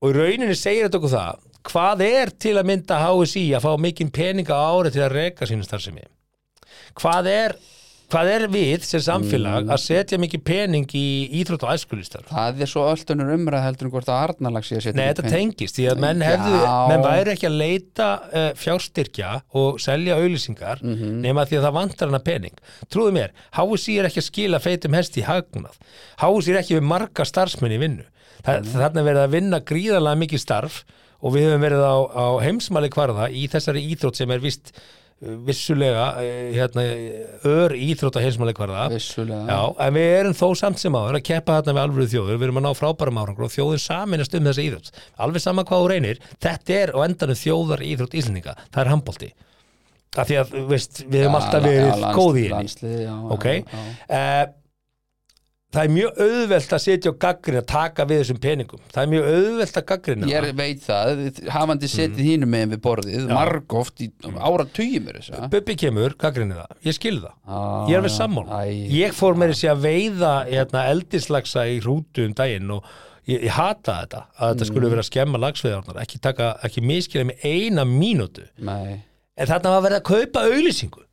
A: og í rauninni segir þetta okkur það Hvað er til að mynda HSI að fá mikinn peninga á ári til að reka sínu starfsemi? Hvað er, hvað er við sem samfélag að setja mikið pening í íþrótt og æskulistarf?
B: Það er svo öllunur umræð heldur en hvort að Arnarlag sé að setja
A: Nei,
B: mikið
A: þetta
B: pening.
A: tengist því að menn, hefðu,
B: Já.
A: menn væri ekki að leita uh, fjárstyrkja og selja auðlýsingar nema því að það vantar hana pening. Trúðu mér, HSI er ekki að skila feitum hest í hagnað. HSI er ekki við marga starfsmenn í vinnu. Þa, Þarna er verið að vinna gríðarlega mikið starf og við höfum verið á, á heimsmæli kvarða í þessari íþrótt sem er vist vissulega eh, hérna, ör íþrótt á heimsmæli kvarða
B: Vissulega.
A: Já, en við erum þó samt sem áður að keppa þarna við alvöru þjóður, við erum að ná frábærum árangur og þjóðin saminast um þessa íþrótt alveg sama hvað þú reynir, þetta er á endanum þjóðar íþrótt Íslendinga, það er handbólti af því að, veist, við höfum alltaf verið góð í henni,
B: henni já,
A: ok
B: já, já.
A: Eh, Það er mjög auðvelt að setja og gaggrina, taka við þessum peningum það er mjög auðvelt að gaggrina
B: Ég er- veit það, hafandi
A: Mm.
B: setið hínum megin við borðið, margóft í ára tugjum er þess að
A: Bubbi kemur, gaggrinni það, ég skil það
B: Ah,
A: ég er alveg sammála
B: æ.
A: ég fór með þessi að veiða hérna, eldislagsa í hrútu um daginn og ég, ég hata þetta að þetta
B: Mm.
A: skulle vera að skemma lagsveðarnar ekki, taka, ekki miskila með eina mínútu
B: Nei,
A: en þarna var verið að kaupa auglýsingu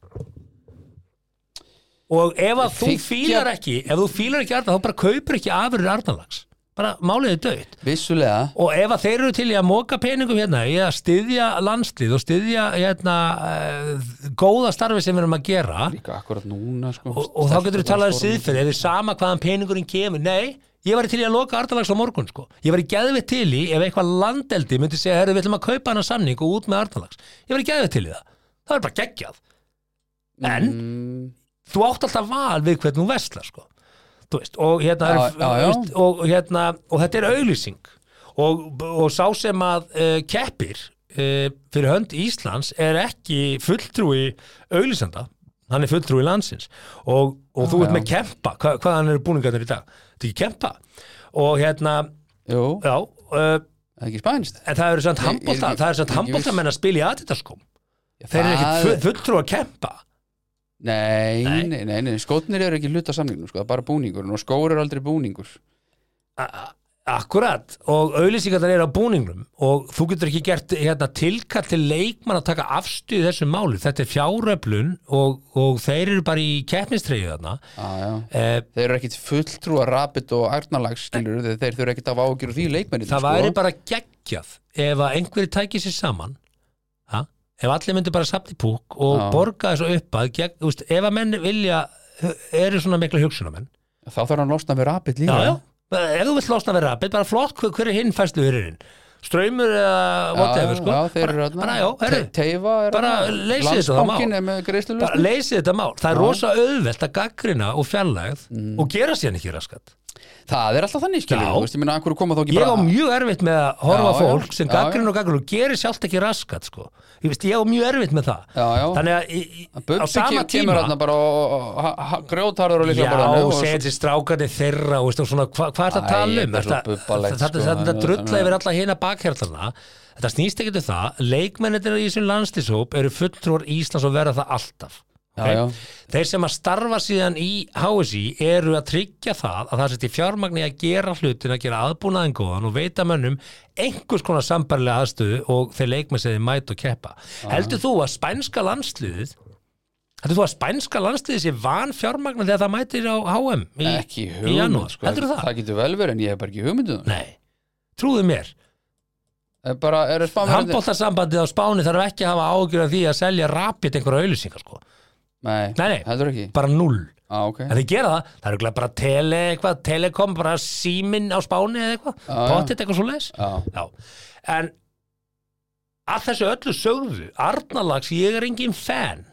A: og ef að þú
B: Þykja-
A: fílar ekki ef þú fílar ekki Arnar þá bara kaupir ekki afurur Arnarlags bara málið er döitt
B: vissulega
A: og ef að þeir eru til í að móka peningum hérna í að styðja landslið og styðja hérna uh, góða starfi sem við erum að gera
B: Líka akkurat núna sko
A: og, og þá getur við talað um
B: Stelpurnar
A: síðferð ef þið sama hvaðan peningurinn kemur, nei ég var til í að loka Arnalags á morgun sko ég var í geðveitt til í ef eitthvað landeldi myndi segja, herru, við ætlum að kaupa hana samning og út með Arnalags, ég var í geðveitt til í það það var bara geggjað
B: storm-
A: en
B: Mm,
A: þú átt alltaf val við hvernig hún vesla sko. Þú veist, og, hérna,
B: Já, já, já.
A: Veist, og, hérna, og þetta er auglýsing og, og sá sem að uh, keppir uh, fyrir hönd Íslands er ekki fulltrúi auglýsanda hann er fulltrúi landsins og, og þú ert
B: já.
A: með kempa, hva, hvaðan eru búningarnir í dag þetta er ekki kempa og hérna,
B: Jú,
A: já uh,
B: það er ekki spænst
A: en það eru samt
B: Ég- ég er
A: handbólta
B: ekki-
A: það eru samt
B: ég er ekki viss.
A: handbóltamenn að spila í aðtitaðskom þeir eru ekki full, fulltrúi að kempa
B: Nei,
A: Nei.
B: nei, nei, nei, skotnir eru ekki hluta samningnum sko, það er bara búningurinn og skóur eru aldrei búningur
A: Akkurat og auðlýsingarnar eru á búningnum og þú getur ekki gert hérna, tilkall til leikmann að taka afstuð þessu máli, þetta er fjáröflun og, og þeir eru bara í keppnistreyju þarna
B: ah, já.
A: eh,
B: Þeir eru ekkit fulltrúa rapid og arnalags skilur þeir, þeir þurfa ekkit að vágjur því leikmennið
A: það
B: sko.
A: væri bara geggjað ef að einhverju tæki sér saman ha? ef allir myndu bara sapni púk og
B: Já.
A: borga þessu upp að gegn, úst, ef að menn vilja eru svona mikla hugsunamenn
B: Þá þarf hann að losna við rapid líka
A: já, já, ef þú vilt losna við rapid bara flott, hver, hver er hinn fæslu hurinn ströymur eða whatever sko
B: já, þeir eru
A: bara,
B: þarna.
A: bara, já, herru,
B: Te- Teifa er
A: bara
B: þarna.
A: leysið þetta, það má.
B: Landsbankinn er með greiðslulust
A: bara leysið þetta mál það er rosa auðvelt að gaggrina og fjarlægð
B: Mm.
A: og gera síðan ekki raskat
B: Það er alltaf þannig skilur
A: Já.
B: þú veist, ég meina, akkur koma þá ekki
A: ég á
B: bara
A: mjög erfitt með að horfa
B: Já,
A: á
B: já,
A: fólk sem
B: já,
A: gaggrina og gaggrina og gerir sjálft ekki raskat sko. ég, veist, ég á mjög erfitt með það
B: Já, já.
A: þannig að í- í- á
B: Bubbi
A: sama
B: ke- kemur
A: tíma
B: þarna bara og- og- og grjótarður og
A: Já,
B: líka bara
A: og segja þessi strákarnir þeirra og veist, og svona, hva, hvað er þetta að
B: Æ,
A: tala um?
B: þetta er svo
A: Þetta-
B: bubbalegt,
A: þetta-
B: sko,
A: Þetta
B: þannig-
A: drulla
B: þannig-
A: yfir alla hina bakherðarna Þetta snýst ekkert um það Leikmennir í þessum landslíshóp eru fulltrúar Íslands og verða það alltaf
B: Já,
A: ok?
B: já.
A: Þeir sem að starfa síðan í HSI eru að tryggja það að það seti fjármagni að gera hlutin að gera aðbúnaðin góðan og veita mönnum einhvers konar sambarlega aðstöðu og þeir leikmenn sem þeir mæta og keppa Heldur þú að spænska landsliðið Heldur þú að spænska landsliðið sé van fjármagna þegar það mætir á HM í,
B: ekki
A: í
B: hugmynd
A: janúar?
B: sko.
A: Heldur það?
B: það getur vel verið en ég hef bara ekki hugmyndum
A: Nei, trúðu mér
B: bara er spáverandi
A: Handbóltarsambandið á Spáni þarf ekki að hafa ágjur af því að selja rapið einhverja auðlýsingar sko
B: nei,
A: Nei, nei.
B: heldur ekki
A: bara null
B: ah, okay.
A: En þeir gera það, það eru bara tele eitthvað, telekom, bara síminn á Spáni eða eitthvað,
B: Já, já.
A: pottit eitthvað svo leis
B: Já.
A: Já, en að þessu öllu sögðu Arnalags, ég er engin fan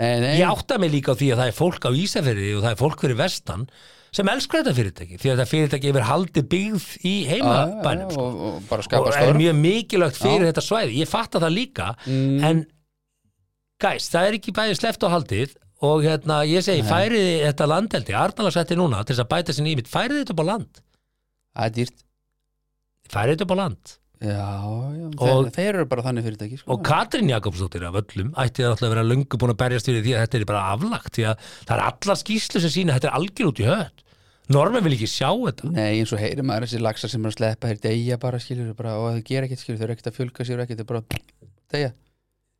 B: nei, nei,
A: Ég átta mig líka á því að það er fólk á Ísafirði og það er fólk fyrir vestan sem elskar þetta fyrirtæki, því að þetta fyrirtæki yfir haldi byggð í
B: Ah,
A: heimabænum
B: já,
A: sko.
B: og, og bara
A: og
B: skapa
A: er
B: störf
A: mjög mikilvægt fyrir
B: Já.
A: þetta svæði ég fatta það líka,
B: Mm.
A: en gæs, það er ekki bæði sleft á haldið og hérna, ég segi, færiði þetta landeldi, Arnalagsætti núna til þess að bæta sinni ímynd, færiði þetta upp á land
B: það er dýrt
A: færiði þetta upp á land
B: já, já,
A: Og-
B: þeir, þeir eru bara þannig fyrirtæki sko.
A: og Katrín Jakobsdóttir af öllum ætti það alltaf að vera löngu búin að berjast fyrir því að þetta er bara aflagt því að það er allar skýslu sem sína þetta er algjör út í hött Normen vil ekki sjá þetta
B: Nei, eins og heyri maður þessi laxar sem er að sleppa þeir deyja bara skilur bara, og þau gera ekkert skilur, þau eru ekkert að fjölga sér ekkert, þau bara deyja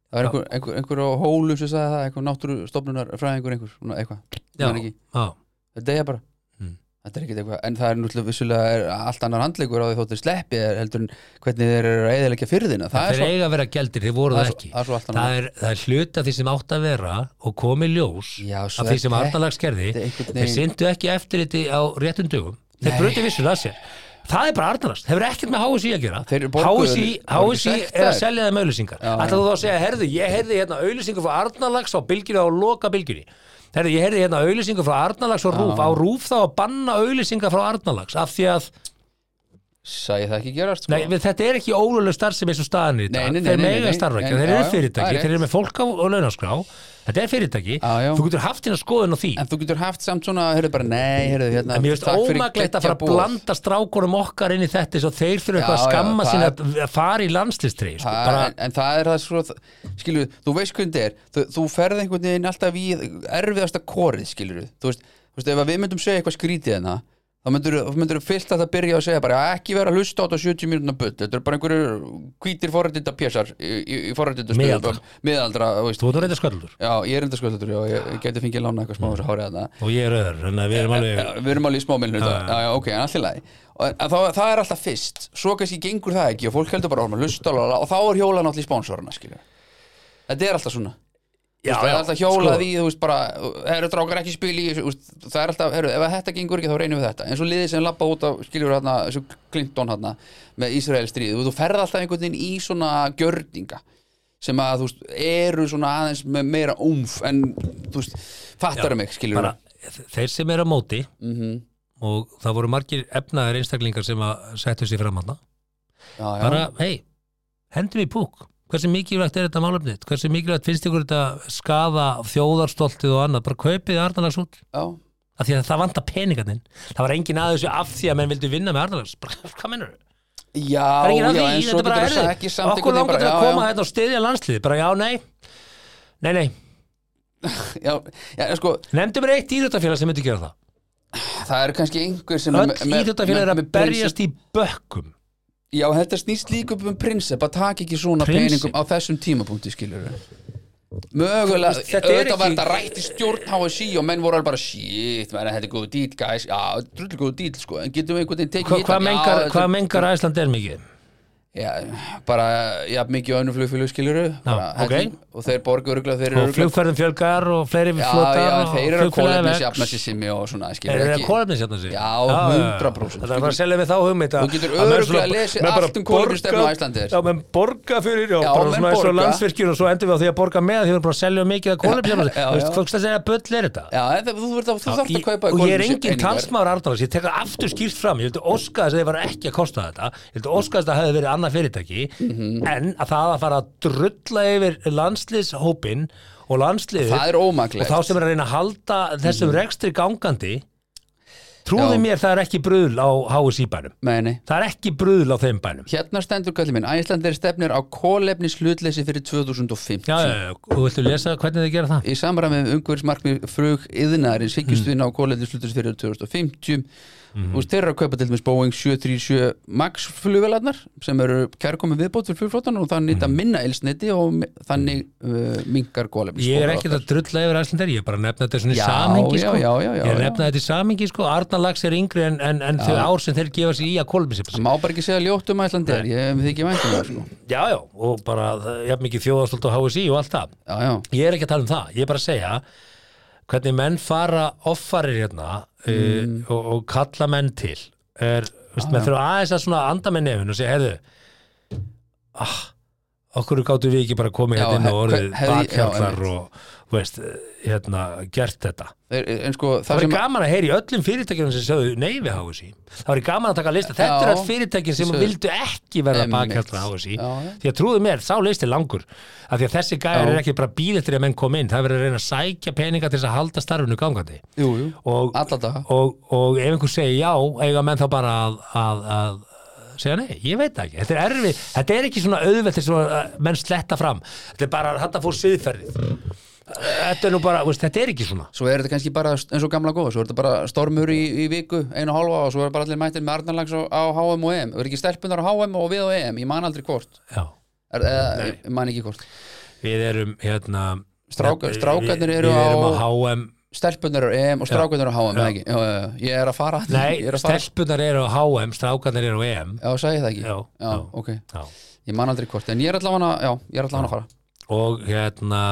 B: Það var einhver, einhver, einhver á hólum sem sagði það einhver náttúrustofnunar fræðingur einhver svona eitthvað,
A: Já,
B: Man ekki.
A: já,
B: þau deyja bara
A: Mm.
B: Þetta er ekkert eitthvað, en það er náttúrulega vissulega er allt annar handleikur á því þóttir sleppi er heldur en hvernig þeir eru að eðilegja fyrðina það,
A: Þeir
B: er svo,
A: eiga að vera gældir, þeir voru
B: það,
A: það
B: er svo,
A: ekki
B: það er svo allt
A: Það
B: annar
A: er, það er hluta því sem átt að vera og komið ljós
B: Já, svo
A: af
B: er
A: því sem
B: þetta-
A: Arnalags gerði
B: þetta er einhvern
A: Þeir
B: veginn-
A: syndu ekki eftir þetta á réttum dögum Þeir bröti vissur að sér Það er bara Arnalags, þeir eru ekkert með HSI að gera
B: Þeir eru borguðu-
A: HSI,
B: voru ekki
A: HSI er að
B: sektaðir.
A: selja þeim auðlýsingar
B: Já,
A: Ætla þú þá að segja, herðu, ég heyrði hérna auðlýsingu frá Arnalags á bylgjunni á loka bylgjunni Herðu, ég heyrði hérna auðlýsingu frá Arnalags og Rúf Á Rúf þá að banna auðlýsingar frá Arnalags af því að
B: Sæði það ekki gerast sko.
A: Nei, við, þetta er ekki ólölu starfsemi eins og staðan í dag,
B: Nei, nei, nei,
A: þeir
B: nei, nei,
A: mega
B: nei.
A: starfa ekki,
B: En-
A: þeir
B: já,
A: eru
B: já, það
A: fyrirtæki,
B: er
A: þeir eru
B: rétt.
A: með fólk á, á launaskrá, þetta er fyrirtæki,
B: Já, já.
A: þú getur haft hérna skoðun á því,
B: En þú getur haft samt svona, heyrðu bara, nei, heyrðu hérna
A: en mér finnst
B: takk fyrir
A: ómaglegt að fara að
B: geggjað boð.
A: blanda strákunum okkar inn í þetta eins og þeir fyrir eitthvað að
B: Já, já,
A: skamma
B: það
A: sinna
B: er-
A: að að fara í landslistri, sko,
B: Það,
A: bara,
B: en, en það er það svo, skilju, þú veist hvernig þetta er, þú, þú ferð einhvern veginn alltaf í erfiðasta korið, skilju, þú veist, þú veist, ef að við myndum segja eitthvað skrítið hérna, þá myndur, myndur fyrst að það byrja að segja bara ekki vera að hlusta á þetta 70 mínútna bull, þetta er bara einhverju hvítir forrættinda pjessar í, í, í forrættinda
A: Miðaldra.
B: miðaldra, þú veist,
A: þú Mm. ert að reynda sköldur
B: já, ég er enda skoðlötur og ég, ég geti fengið lána eitthvað smá þessu hárið þarna.
A: og ég er öður, þannig að við erum alveg,
B: Já, við erum alveg í smá minnum
A: Já, já.
B: já, já, ok, en allir lagi Og- en þá, það er alltaf fyrst, svo kannski gengur það ekki og fólk heldur bara orma, hlusta og, og þá er hjólan allir í spónsoruna, skilja þetta er alltaf svona
A: já, já,
B: það er
A: sko,
B: alltaf hjólað í, þú veist bara eru drákar ekki spil í, þessu, þú veist, það er alltaf heru, ef að þetta gengur ekki þá reynum við þetta eins og liðið sem lappa út á, skiljur hérna þessu Clinton hérna með Ísrael stríð þú ferð alltaf einhvern veginn í svona gjörninga sem að þú veist eru svona aðeins með meira umf en þú veist, fattar mig Mhm. skiljur
A: bara, þeir sem eru á móti og það voru margir efnaðar einstaklingar sem að settu sér fram hana, bara, hei, hendum í púk hversu mikilvægt er þetta málefnið hversu mikilvægt finnst ykkur þetta skaða þjóðarstoltið og annað, bara kaupið Arnalags út
B: já,
A: af því að það vanta peningarninn það var engin að þessu af því að menn vildu vinna með Arnalags bara, hvað mennur þau?
B: Já,
A: Það er
B: já,
A: engin að því,
B: en
A: þetta
B: svo
A: er bara
B: getur það
A: erfið.
B: ekki samt
A: okkur
B: einhvern
A: langar til
B: veginn
A: að koma
B: bara,
A: hérna og styðja landsliði bara já, nei, nei, nei
B: já, já, já, en sko,
A: nefndu mér eitt íþjóttafélag sem myndi gera það
B: það eru kannski einhver sem
A: öll íþjóttafélag er að
B: prinsip-
A: berjast í bökkum
B: Já, þetta snýst líka upp um prinsip að taka ekki svona
A: Prinsip?
B: peningum á þessum tímapunkti skilur Mögulega,
A: Þú veist, þetta er
B: auðvitað var
A: ekki-
B: þetta rætt í stjórn HSI og menn voru alveg bara shit, menn, þetta er góðu dýl, guys Já, drullu góðu dýl, sko, en getum við einhvern veginn tekið
A: Hva,
B: hitan?
A: hvað
B: Já,
A: mengar,
B: þetta-
A: hvað mengar Æsland er mikið?
B: Já, bara, já, mikið önnum flugfélug skilur
A: ok.
B: Og þeir borgu örgulega, þeir eru
A: og
B: örugglega-
A: flugferðum fjölgar og fleiri
B: Já,
A: flotar
B: já, en
A: og
B: þeir eru að
A: flugfélagi vex.
B: kólefnisjafna sér simmi og svona skilur
A: Er það
B: ekki-
A: kólefnisjafna sig?
B: Já, 100%.
A: Það er bara að selja við þá hugmynd að-
B: Þú getur
A: að menn
B: örugglega
A: svona-
B: lesið
A: menn bara
B: allt um kolefnisstefnu
A: borga-
B: Icelandair.
A: Já, menn borga fyrir, já,
B: Já,
A: bara
B: menn
A: svona eins og
B: borga.
A: landsvirkjur og svo endur við á því að borga með því við erum bara að selja mikið að kólefnisjafna sig
B: Já,
A: Þú veist,
B: já.
A: fólk það segja að bull er þetta
B: Já, en það- þú, þú, þú þarft að
A: Í-
B: kaupa
A: og ég er engin
B: kolefniseiningar.
A: talsmaður Arnalans ég tek það aftur skýrt fram, ég vildi óska þess að þið var ekki að kosta þetta ég vildi óska þess að það hefði verið annað fyrirtæki
B: Mhm.
A: en að það að fara að drulla yfir landsliðshópin og landsliðið
B: Það er
A: og
B: ómaklegt
A: þá sem er að reyna að halda þessum rekstri gangandi trúðu
B: Já.
A: mér það er ekki bruðl á HSI bænum
B: Meni,
A: það er ekki bruðl á þeim bænum já,
B: Hérna stendur kallið minn, Æslandir stefnir á kólefnis hlutleysi fyrir 2050
A: já, já, og viltu lesa hvernig þið gera það
B: Í samræmi með umhverfismarkmið frug
A: Mhm.
B: yðnaðarinn sikkist við ná kólefnis hlutleysi fyrir 2050 mm. og þeirra að kaupa til dæmis Boeing 737 MAX flugvelarnar sem eru kærkomið viðbót fyrir flugflotan og þannig
A: Mhm.
B: nýta minna elsniti og mi- þannig uh, minkar kólefnis
A: ég er ekkert að drulla yfir æslandar ég er bara að nefna þetta svona í
B: Já,
A: samhengi
B: já,
A: sko.
B: já, já, já,
A: ég er að
B: já.
A: nefna þetta í samhengi sko. Arnalags er yngri en, en, en þau ár sem þeir gefa sig í að kolmisip
B: Má bara ekki segja ljótt um Æslandir, ég hef þykir væntum það sko
A: já, já, og bara jafn mikið þjóðastöld og HSI og allt það
B: Já, já,
A: ég er ekki að tala um það, ég er bara að segja hvernig menn fara offarir hérna
B: Mm.
A: uh, og, og kalla menn til er, veist,
B: Ah.
A: menn þurfa aðeins að svona anda með nefn og segja, heyrðu ah, okkur gáttu við ekki bara komið
B: Já,
A: hérna inn
B: hef-
A: og orðið
B: hef- hefði- já,
A: bakhjallar og þú veist, eh, hérna, gert þetta
B: Þeir- en sko það,
A: það
B: sem
A: væri gaman að heyra í öllum fyrirtækjum sem sögðu nei við HSI það væri gaman að taka lista, þetta
B: Já.
A: er all fyrirtækjum sem
B: Svo-
A: vildu ekki verða
B: Einmitt.
A: bakhjallar HSI
B: Já, já.
A: því að trúðu mér, þá listi er langur af því að þessi gæjar
B: Já.
A: er ekki bara býð eftir að menn kom inn, það er verið að reyna að sækja peninga til þess að halda starfinu gangandi
B: Jú, jú,
A: og,
B: alla daga
A: og, og ef einhver segir já eiga menn þá bara að, að, að segja nei, ég veit það ekki, þetta er erfið þetta er ekki svona auðvelt þess að menn sletta fram, þetta er bara að þetta fór siðferðið þetta er nú bara, veist, þetta er ekki svona
B: Svo er þetta kannski bara eins og gamla góða Svo er þetta bara stormur í, í viku, einu og hálfa og svo er bara allir mættir með Arnarlags á, á HM og EM Það er ekki stelpunar á HM og við á EM Ég man aldrei hvort
A: já.
B: er, eða, Ég man ekki hvort
A: við erum hérna
B: Stráka-
A: við-
B: strákarnir
A: við-
B: eru
A: við erum á
B: á-
A: HM
B: Stelpunar á EM og strákunar á HM eða ekki, já, já, já. Ég er að fara Ég
A: nei,
B: er að fara
A: stelpunar eru á HM strákarnir eru á EM
B: Já, sagði ég það ekki
A: Já, já.
B: ok
A: já.
B: Ég man aldrei hvort, en ég er allavega já, ég er allavega að fara
A: og hérna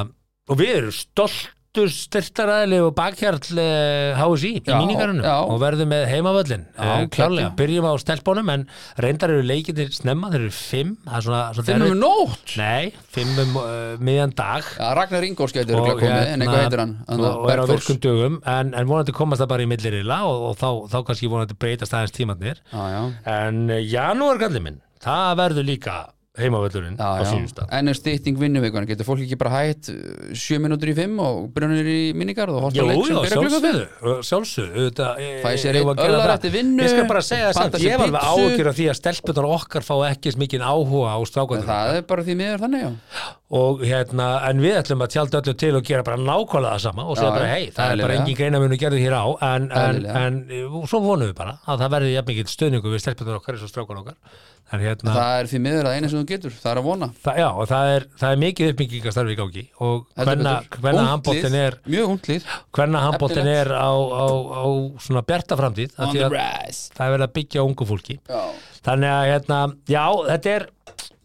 A: og við erum stoltur styrtaræðli og bakhjarl eh, HSI í
B: Já,
A: míningarinu
B: já.
A: og verðum með heimavöllin
B: Já,
A: eh, klárlega,
B: klárlega.
A: byrjum á stelpunum en reyndar eru leikinir snemma, þeir eru fimm það er svona, svona
B: Finnum við nótt
A: Nei, fimm um uh, miðjan dag
B: Já, Ragnar Ingórs getur örugglega komið, en eitthvað heitir hann hann
A: hérna, og, og er á
B: Bergþórs.
A: virkum dögum en, en vonandi komast það bara í millirila og, og þá, þá kannski vonandi breytast aðeins tímatnir
B: Já, já,
A: en janúargalli minn það verður líka heimavöllurinn
B: já,
A: á
B: já.
A: síðustaf
B: En er stytting vinnuvikuna, getur fólk ekki bara hætt 7 minútur í 5 og brunir í minningarð og horta
A: Jú,
B: leik
A: jú,
B: sem byrja klukka
A: sjálfsögðu,
B: 5
A: sjálfsögðu auðvitað, e-
B: Fæ sér
A: eigum
B: einn
A: að gera
B: öllar
A: það.
B: eftir vinnu,
A: Ég skal bara segja
B: panta
A: það,
B: sér
A: ég var alveg
B: pizzu.
A: ágjur af því að stelpunar okkar fá ekki smikinn áhuga á strákanum
B: Það er bara því miður þannig, já
A: og hérna, en við ætlum að tjálta öllu til og gera bara nákvæmlega það sama og segja
B: Já,
A: bara
B: já,
A: hei, það er bara
B: eðlilega.
A: engin greinamunu gerðið hér á en, en,
B: Eðlilega.
A: en e, og svo vonum við bara að það verði jafn mikið stöðningu við stelpunar okkar eins og strákan okkar en hérna, það,
B: Það er því miður að eina sem þú getur, það er að vona
A: já, og það er, það er mikið uppbyggingastarfi í gangi og
B: Heldur
A: hvenna,
B: betur.
A: hvenna
B: Ungt lið,
A: handbóttin er
B: Mjög hundlið
A: hvenna handbóttin
B: Efnilegt.
A: er á, á, á svona bjarta framtíð af
B: On
A: því
B: the
A: að
B: rise
A: það er verið að byggja á ungu fólki
B: Já,
A: þannig að hérna, já, þetta er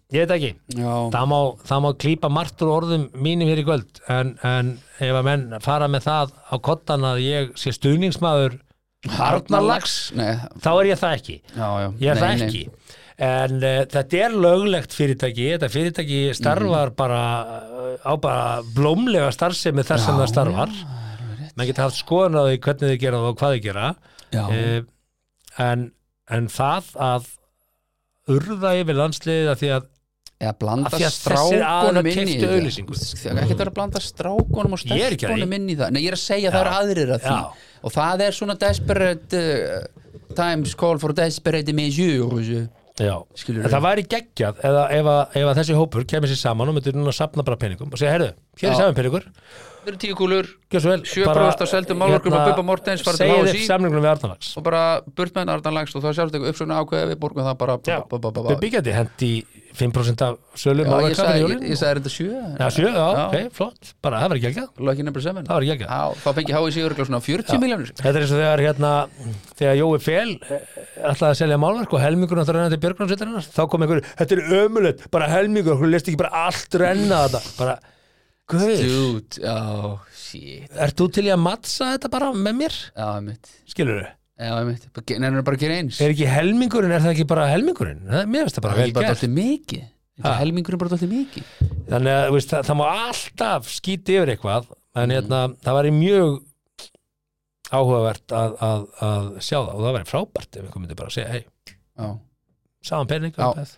A: ég veit ekki,
B: já,
A: það má, það má klípa margt úr orðum mínum hér í kvöld en, en ef að menn fara með það á kottan að ég sé stuðningsmaður Arnarlags
B: nei,
A: þá er ég það ekki
B: já, já
A: ég er
B: nei,
A: það
B: nei.
A: ekki en uh, þetta er löglegt fyrirtæki þetta fyrirtæki
B: Mhm.
A: starfar bara uh, á bara blómlega starfsemi þar sem það starfar menn geta haft skoðan á því hvernig þið gera það og hvað þið gera
B: Já.
A: Eh, en, en það að urða yfir landsliðið að því að
B: Eða
A: Af
B: blanda
A: því að þessir aðilar
B: strákunum inn í
A: keyptu
B: það
A: auglýsingu.
B: Þegar ekki þetta er að blanda strákunum og
A: Ég er ekki að því.
B: stelpunum inn í það Nei, ég er að segja að það eru aðrir að því
A: Já.
B: Og það er svona desperate uh, times call for desperate measures
A: Já,
B: Skilurðu?
A: en það væri geggjað eða, ef, að, ef að þessi hópur kemur sér saman og myndir núna að sapna bara peningum og segja, heyrðu, hér er
B: Já.
A: saman peningur
B: Það eru tíu kúlur
A: gjör svo vel,
B: Sjö prósent af seldum málverkum af Bubba Morthens fara til
A: segið
B: HSÍ.
A: upp samningunum við Arnalags
B: og bara burt með Arndan Lagst og það sjálfst eitthvað uppsögnu ákveða við borgum það bara
A: Já,
B: ba- ba- ba- ba-
A: við byggjandi hendi 5% af sölu
B: Já, ég
A: málverkafin í
B: sagði,
A: jólin
B: ég sagði þetta sjö
A: Já, sjö, já,
B: Já.
A: ok, flott, bara það verður geggjað
B: Lucky number seven
A: Það væri geggjað.
B: Já, Þá fengi háið sig örgulega svona 40 miljónir
A: Þetta er eins og þegar hérna þegar Jói Fel eh, ætlaði að selja málverk og helmingur að það renna til björgrunarsveitarinnar þá kom einhver, þetta er ömulegt, bara helmingur okkur list ekki bara allt renna þetta bara, guð,
B: Dude, já, shit
A: ert þú til í að mattsa þetta bara með mér,
B: Já, einmitt
A: skilur þau?
B: Já, einmitt Nennir bara að gera eins
A: Er ekki helmingurinn, er það ekki bara helmingurinn? Það, mér finnst það bara
B: Það
A: vel
B: er bara
A: gert
B: dálítið mikið Þetta er helmingurinn bara dálítið mikið
A: Þannig að þú veist, það, það má alltaf skýti yfir eitthvað en hérna, það væri mjög áhugavert að, að, að sjá það og það væri frábært ef einhver myndi bara að segja, hei,
B: Já.
A: saman pening
B: Já.
A: upphæð,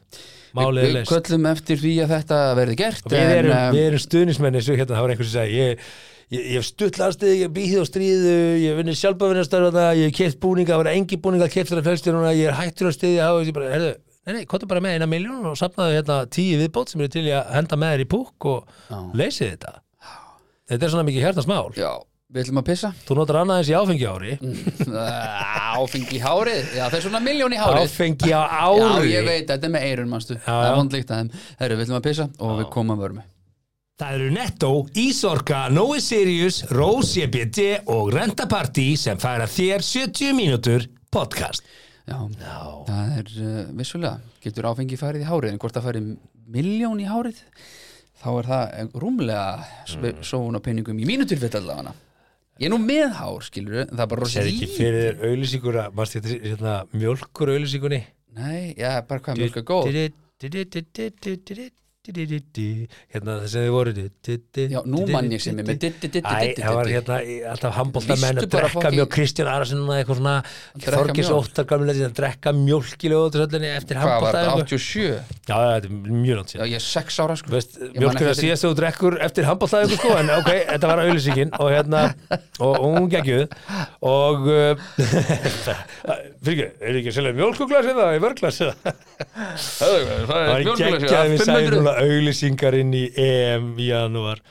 A: málið
B: Við
A: er leist
B: köllum eftir því að þetta verði gert
A: Og Við erum,
B: um,
A: við erum stuðnismenni svo hérna, það var einhvers sem sagði ég, ég, ég hef stutt landslið, ég hef býð á stríðu ég hef vinnið sjálfbæðvinnastarfana, ég hef keitt búninga það var engi búninga keitt þar að fjölstu núna ég er hættur að stiðja á þessi bara, herðu Nei, nei, kóttu bara með eina miljón og sapnaðu hérna tíu viðbót sem eru til í að henda með þér í púk og leysið þetta. Þetta er svona mikið hjartasmál.
B: Já, við ætlum að pissa
A: Þú notar annað eins í áfengi á ári.
B: Áfengi í hárið Já, það er svona miljón í hárið
A: Áfengi á
B: Já,
A: ári.
B: ég veit, þetta er með eirun, manstu Það
A: já.
B: er vondlíkt að þeim Herru, við ætlum að pissa og við komum að vörmi
C: Það eru Netto, Ísorka, Nói Sirius, Rose EBD og Renta Party sem færa þér 70 mínútur podcast.
B: Já, já. það er uh, vissulega Getur áfengi farið í hárið En hvort það farið miljón í hárið Þá er það eh, rúmlega mm. Sóun á peningum í mínu tilfell allavega Ég er nú með hár, skilur Það er bara rosa
A: Sér ekki
B: lítið.
A: fyrir þér auðlýsingur að, varst þetta hérna, mjölkur auðlýsingunni?
B: Nei, já, bara hvað mjölk er góð
A: hérna það sem þið voru
B: Já, nú mann ég sem er með
A: Æ, það var
B: Þetta
A: hérna í- alltaf handbóltamenn að
B: Lýstu bara
A: drekka
B: fokki-
A: mjög Kristján Arason og eitthvað svona
B: drekka
A: Þorgis
B: mjólk.
A: Óttar gamlega að drekka mjölkilegu eftir
B: Hvað var þetta,
A: handbóltæðingu
B: 87?
A: Já, já, þetta er mjög langt
B: Já,
A: síðan
B: ég er sex ára sko
A: Veist,
B: Ég man
A: mjölkur
B: ekki
A: er að
B: eftir-
A: síðast þú drekkur eftir handbóltæðingu sko, en ok, þetta var auðlýsingin og hérna, og, og hún geggjuð og uh, fyrir ekki, er ekki sérlega mjölkuglas eða í vörglas eða
B: Það
A: Það er
B: mjólkurglas, já,
A: geggjaði við
B: 500.
A: sæði núna auglýsingar inn í EM í janúar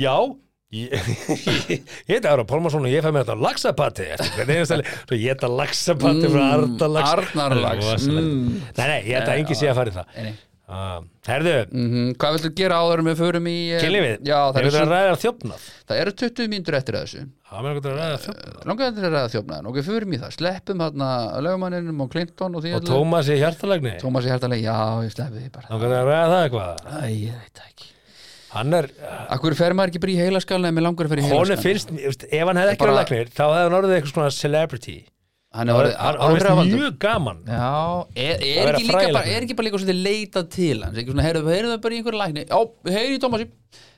A: Já, Ég ég- ég heiti Ára Pálmarsson og ég fæ mér þetta laxapati eftir hvern einasta leik. Svo ég heita laxapati frá Arnarlax
B: Mm, Arnarlax, Eh,
A: mm. Nei, nei, ég heita
B: Nei,
A: engi sé að fara í það
B: Nei, nei.
A: Ah, Herðu,
B: Mhm, Hvað viltu gera áður en við förum í eh,
A: kynlífið
B: Já, það
A: Er
B: eru,
A: þetta að
B: svo,
A: ræða þjófnað?
B: það eru 20 mínútur eftir að þessu
A: Það er mér eitthvað að ræða þjófnað
B: Langaði þetta er að þjófnaðan Ok, förum í það Sleppum hérna lögumanninum og Clinton og því
A: Og Tómas í hjartalagni Þá
B: Tómas er hærtalega Já, ég sleppi því bara
A: er að ræða það eitthvað
B: Æ, ég veit það ekki
A: Hann er,
B: Akkur fer maður ekki bara í heilaskalna en mér langar að fer í
A: honum
B: heilaskalna
A: finnst, you veist, ef hann hefði ekki
B: Bara-
A: verið læknir Þá hefði hann orðið eitthvað svona celebrity
B: Hann
A: Það
B: er
A: var-
B: orðið
A: Hann hann finnst
B: áhrifavaldur.
A: mjög gaman
B: Já,
A: Að
B: er, er,
A: vera
B: ekki líka bara,
A: fræðilegur.
B: er ekki bara líka svolítið leitað til hans ekki svona, heyrðu heyrðu það bara í einhverju lækni já, heyrðu í Tómasi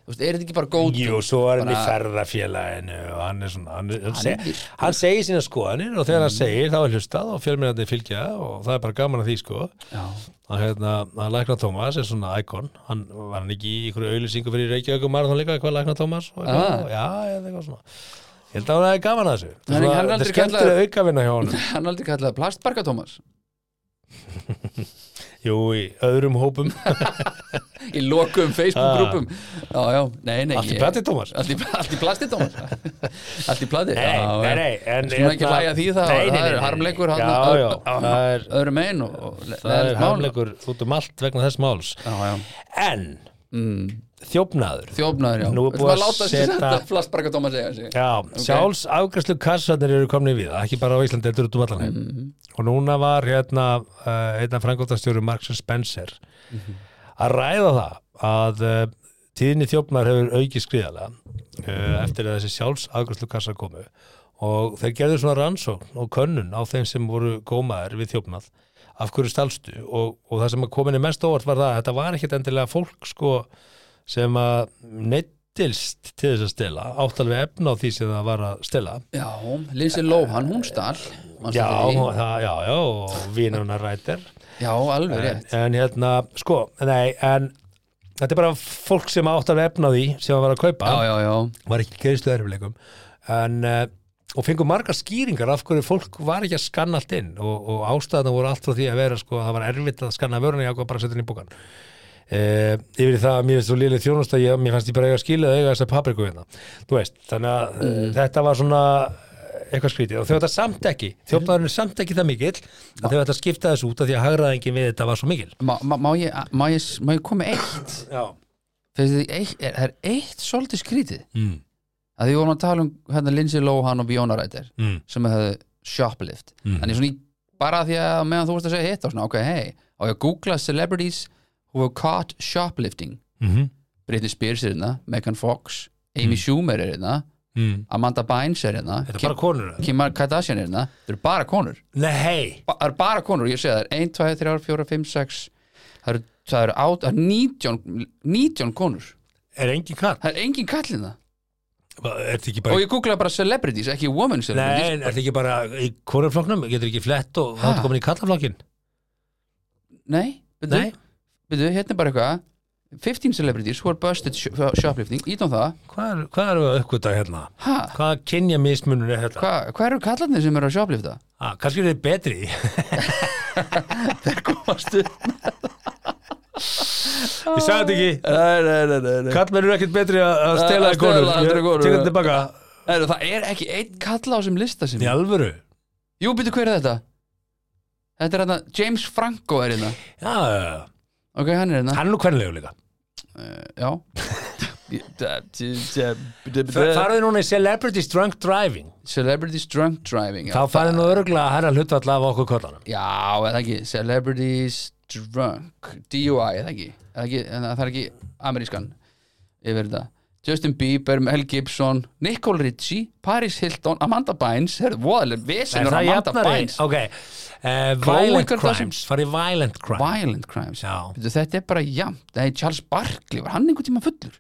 B: Þú veist, er þetta ekki bara góð
A: Jú, svo er hann í
B: Bara-
A: ferðafélaginu og hann er svona, hann, hann,
B: er Mm.
A: seg,
B: virkur.
A: hann segir sína skoðanir og þegar hann segir þá er hlustað og fjölmyndandi fylgja og það er bara gaman að því sko
B: Já.
A: að hérna, að Lækna Tómas er svona íkon, hann var hann ekki í einhverju auðlýsingu fyrir Reykjavíkum marathon líka, hvað Lækna Tómas og eitthvað,
B: Ah.
A: já, eða eitthvað svona ég held að hann hefði gaman að þessu
B: Hann er-
A: Svona- þetta
B: hann er aldrei
A: er skemmtilega
B: kallaður-
A: aukavinna hjá honum
B: hann er aldrei kallaði plastbarka Tómas
A: jú, í öðrum hópum,
B: í lokum Facebook-grúpum já, já, nei, nei
A: Ah. allt í
B: ég-
A: plati Tómas
B: allt í, allt í plasti Tómas allt í plati
A: Nei,
B: já,
A: nei,
B: já.
A: nei, en hérna-
B: Skulum ekki hlæja því það,
A: Nei, nei,
B: það er
A: nei, nei.
B: harmleikur
A: Já,
B: þarna á-
A: já,
B: á-
A: það er
B: öðru megin og, og
A: það er
B: mál.
A: harmleikur út um allt vegna þess máls
B: já, já.
A: en
B: Mm.
A: þjófnaður
B: þjófnaður, já
A: Nú er búið
B: Þú veist, maður
A: að
B: láta
A: setja-
B: setja plastbarka Tómas eiga sig
A: Já, sjálfs afgræslu kassarnir eru komni við, ekki bara á Íslandi, þetta er út um allan heim. Og núna var hérna uh, einna frangóttastjóru Marks Spencer að ræða það að uh, tíðinni þjófnar hefur aukið skriðalega uh, eftir að þessi sjálfs afgræslu kassar komu og þeir gerðu svona rannsókn og könnun á þeim sem voru gómaðir við þjófnað af hverju stalstu og, og það sem að kominni mest á óvart var það að þetta var ekkit endilega fólk sko sem að neittist til þess að stela átt alveg efna á því sem það var að stela
B: já, Lindsay Lohan, hún stall
A: já, og það, já, já, og vínuna rætir
B: já, alveg rétt
A: en hérna, sko, nei, en þetta er bara fólk sem átt alveg efna á því sem það var að kaupa,
B: já, já, já,
A: var ekki greiðslu erfileikum en, eh, og fengur margar skýringar af hverju fólk var ekki að skanna allt inn og, og ástæðan voru allt frá því að vera sko, það var erfitt að skanna vöruna ég ákvað bara að setja hann í bókan Uh, yfir í það að mér finnst svo liðlega þjónust að ég, mér fannst ég bara eiga að skila að eiga þessa papriku hérna þú veist, þannig að mm. þetta var svona eh, eitthvað skrítið og þau þetta samt ekki þjófnaðurinn er samt ekki það mikill að þau þetta skipta þessu út af því að hagraðingin við þetta var svo mikil
B: má, má, má, ég, má, ég, má ég koma með eitt
A: Já,
B: Finnst þið eitt, er, það er eitt svolítið skrítið
A: mm.
B: að því vorum að tala um hérna Lindsay Lohan og Bjona Rættir
A: Mm.
B: sem hefðu shoplift
A: Mm.
B: en ég svona í, bara því að meðan þú vorst að segja hitt og svona, ok, hei, á ég að googla celebrities who were caught shoplifting
A: Mm -hmm.
B: Britney Spears er hérna, Megan Fox Amy Schumer er hérna,
A: mm.
B: Amanda Bynes er hérna
A: Mhm. Þetta er
B: Kim,
A: bara konur
B: Kim Kardashian er hérna það eru bara konur,
A: Nei,
B: ba það eru bara konur ég segja það er 1, 2, 3, 4, 5, 6 það eru, það eru, át- það eru 19, 19 konur
A: er engin kall
B: það er engin kallin það
A: Er þetta ekki
B: og
A: bara
B: ég googlaði bara celebrities, ekki women
A: Nei,
B: celebrities
A: er þetta ekki bara í konurflokknum getur ekki flett og
B: Ha?
A: þá ertu komin í kallaflokkin
B: Nei,
A: Nei,
B: byrju, byrju, hérna er bara eitthvað 15 celebrities who are busted sh- for shoplifting, ítum það
A: hvað er- hvað eru að uppgöta hérna?
B: ha,
A: Hvað kynja mismunur er þetta?
B: hva, hvað eru kallarnir sem eru að shoplifta?
A: Ah, kannski er þetta betri í
B: Þeir komast upp
A: Ég sagði þetta ekki
B: Nei, nei, nei, nei, nei.
A: Kallmenn eru ekkert betri að að stela
B: Að- að
A: í konur
B: stela heldur en konur,
A: Til
B: já.
A: þetta baka
B: Nei, Það er ekki einn kall á sem lista sem
A: Í alvöru
B: Jú, byrju, hver er þetta? Þetta er hérna, James Franco er hérna
A: Já, já, já.
B: Ok, hann er hérna
A: hann er nú kvenlegu líka
B: Já
A: Farðu núna í Celebrities Drunk Driving
B: Celebrities drunk driving já.
A: Þá farðu nú örgulega að herra hlutvall af okkur kollanum
B: Já, eða ekki Celebrities Drunk DUI, eða ekki, eða ekki en Það er ekki amerískan yfir þetta Justin Bieber, Mel Gibson Nicole Richie, Paris Hilton Amanda Bynes, herrðu, voðalega
A: Er
B: vesenur
A: það
B: Amanda
A: jafnari?
B: Bynes
A: Ok, uh, violent
B: ykkur það sem-
A: crimes Farðu í violent crimes
B: Violent crimes
A: Já.
B: Veitu, Þetta er bara jafnt Nei, Charles Barkley, var hann einhvern tíma fullur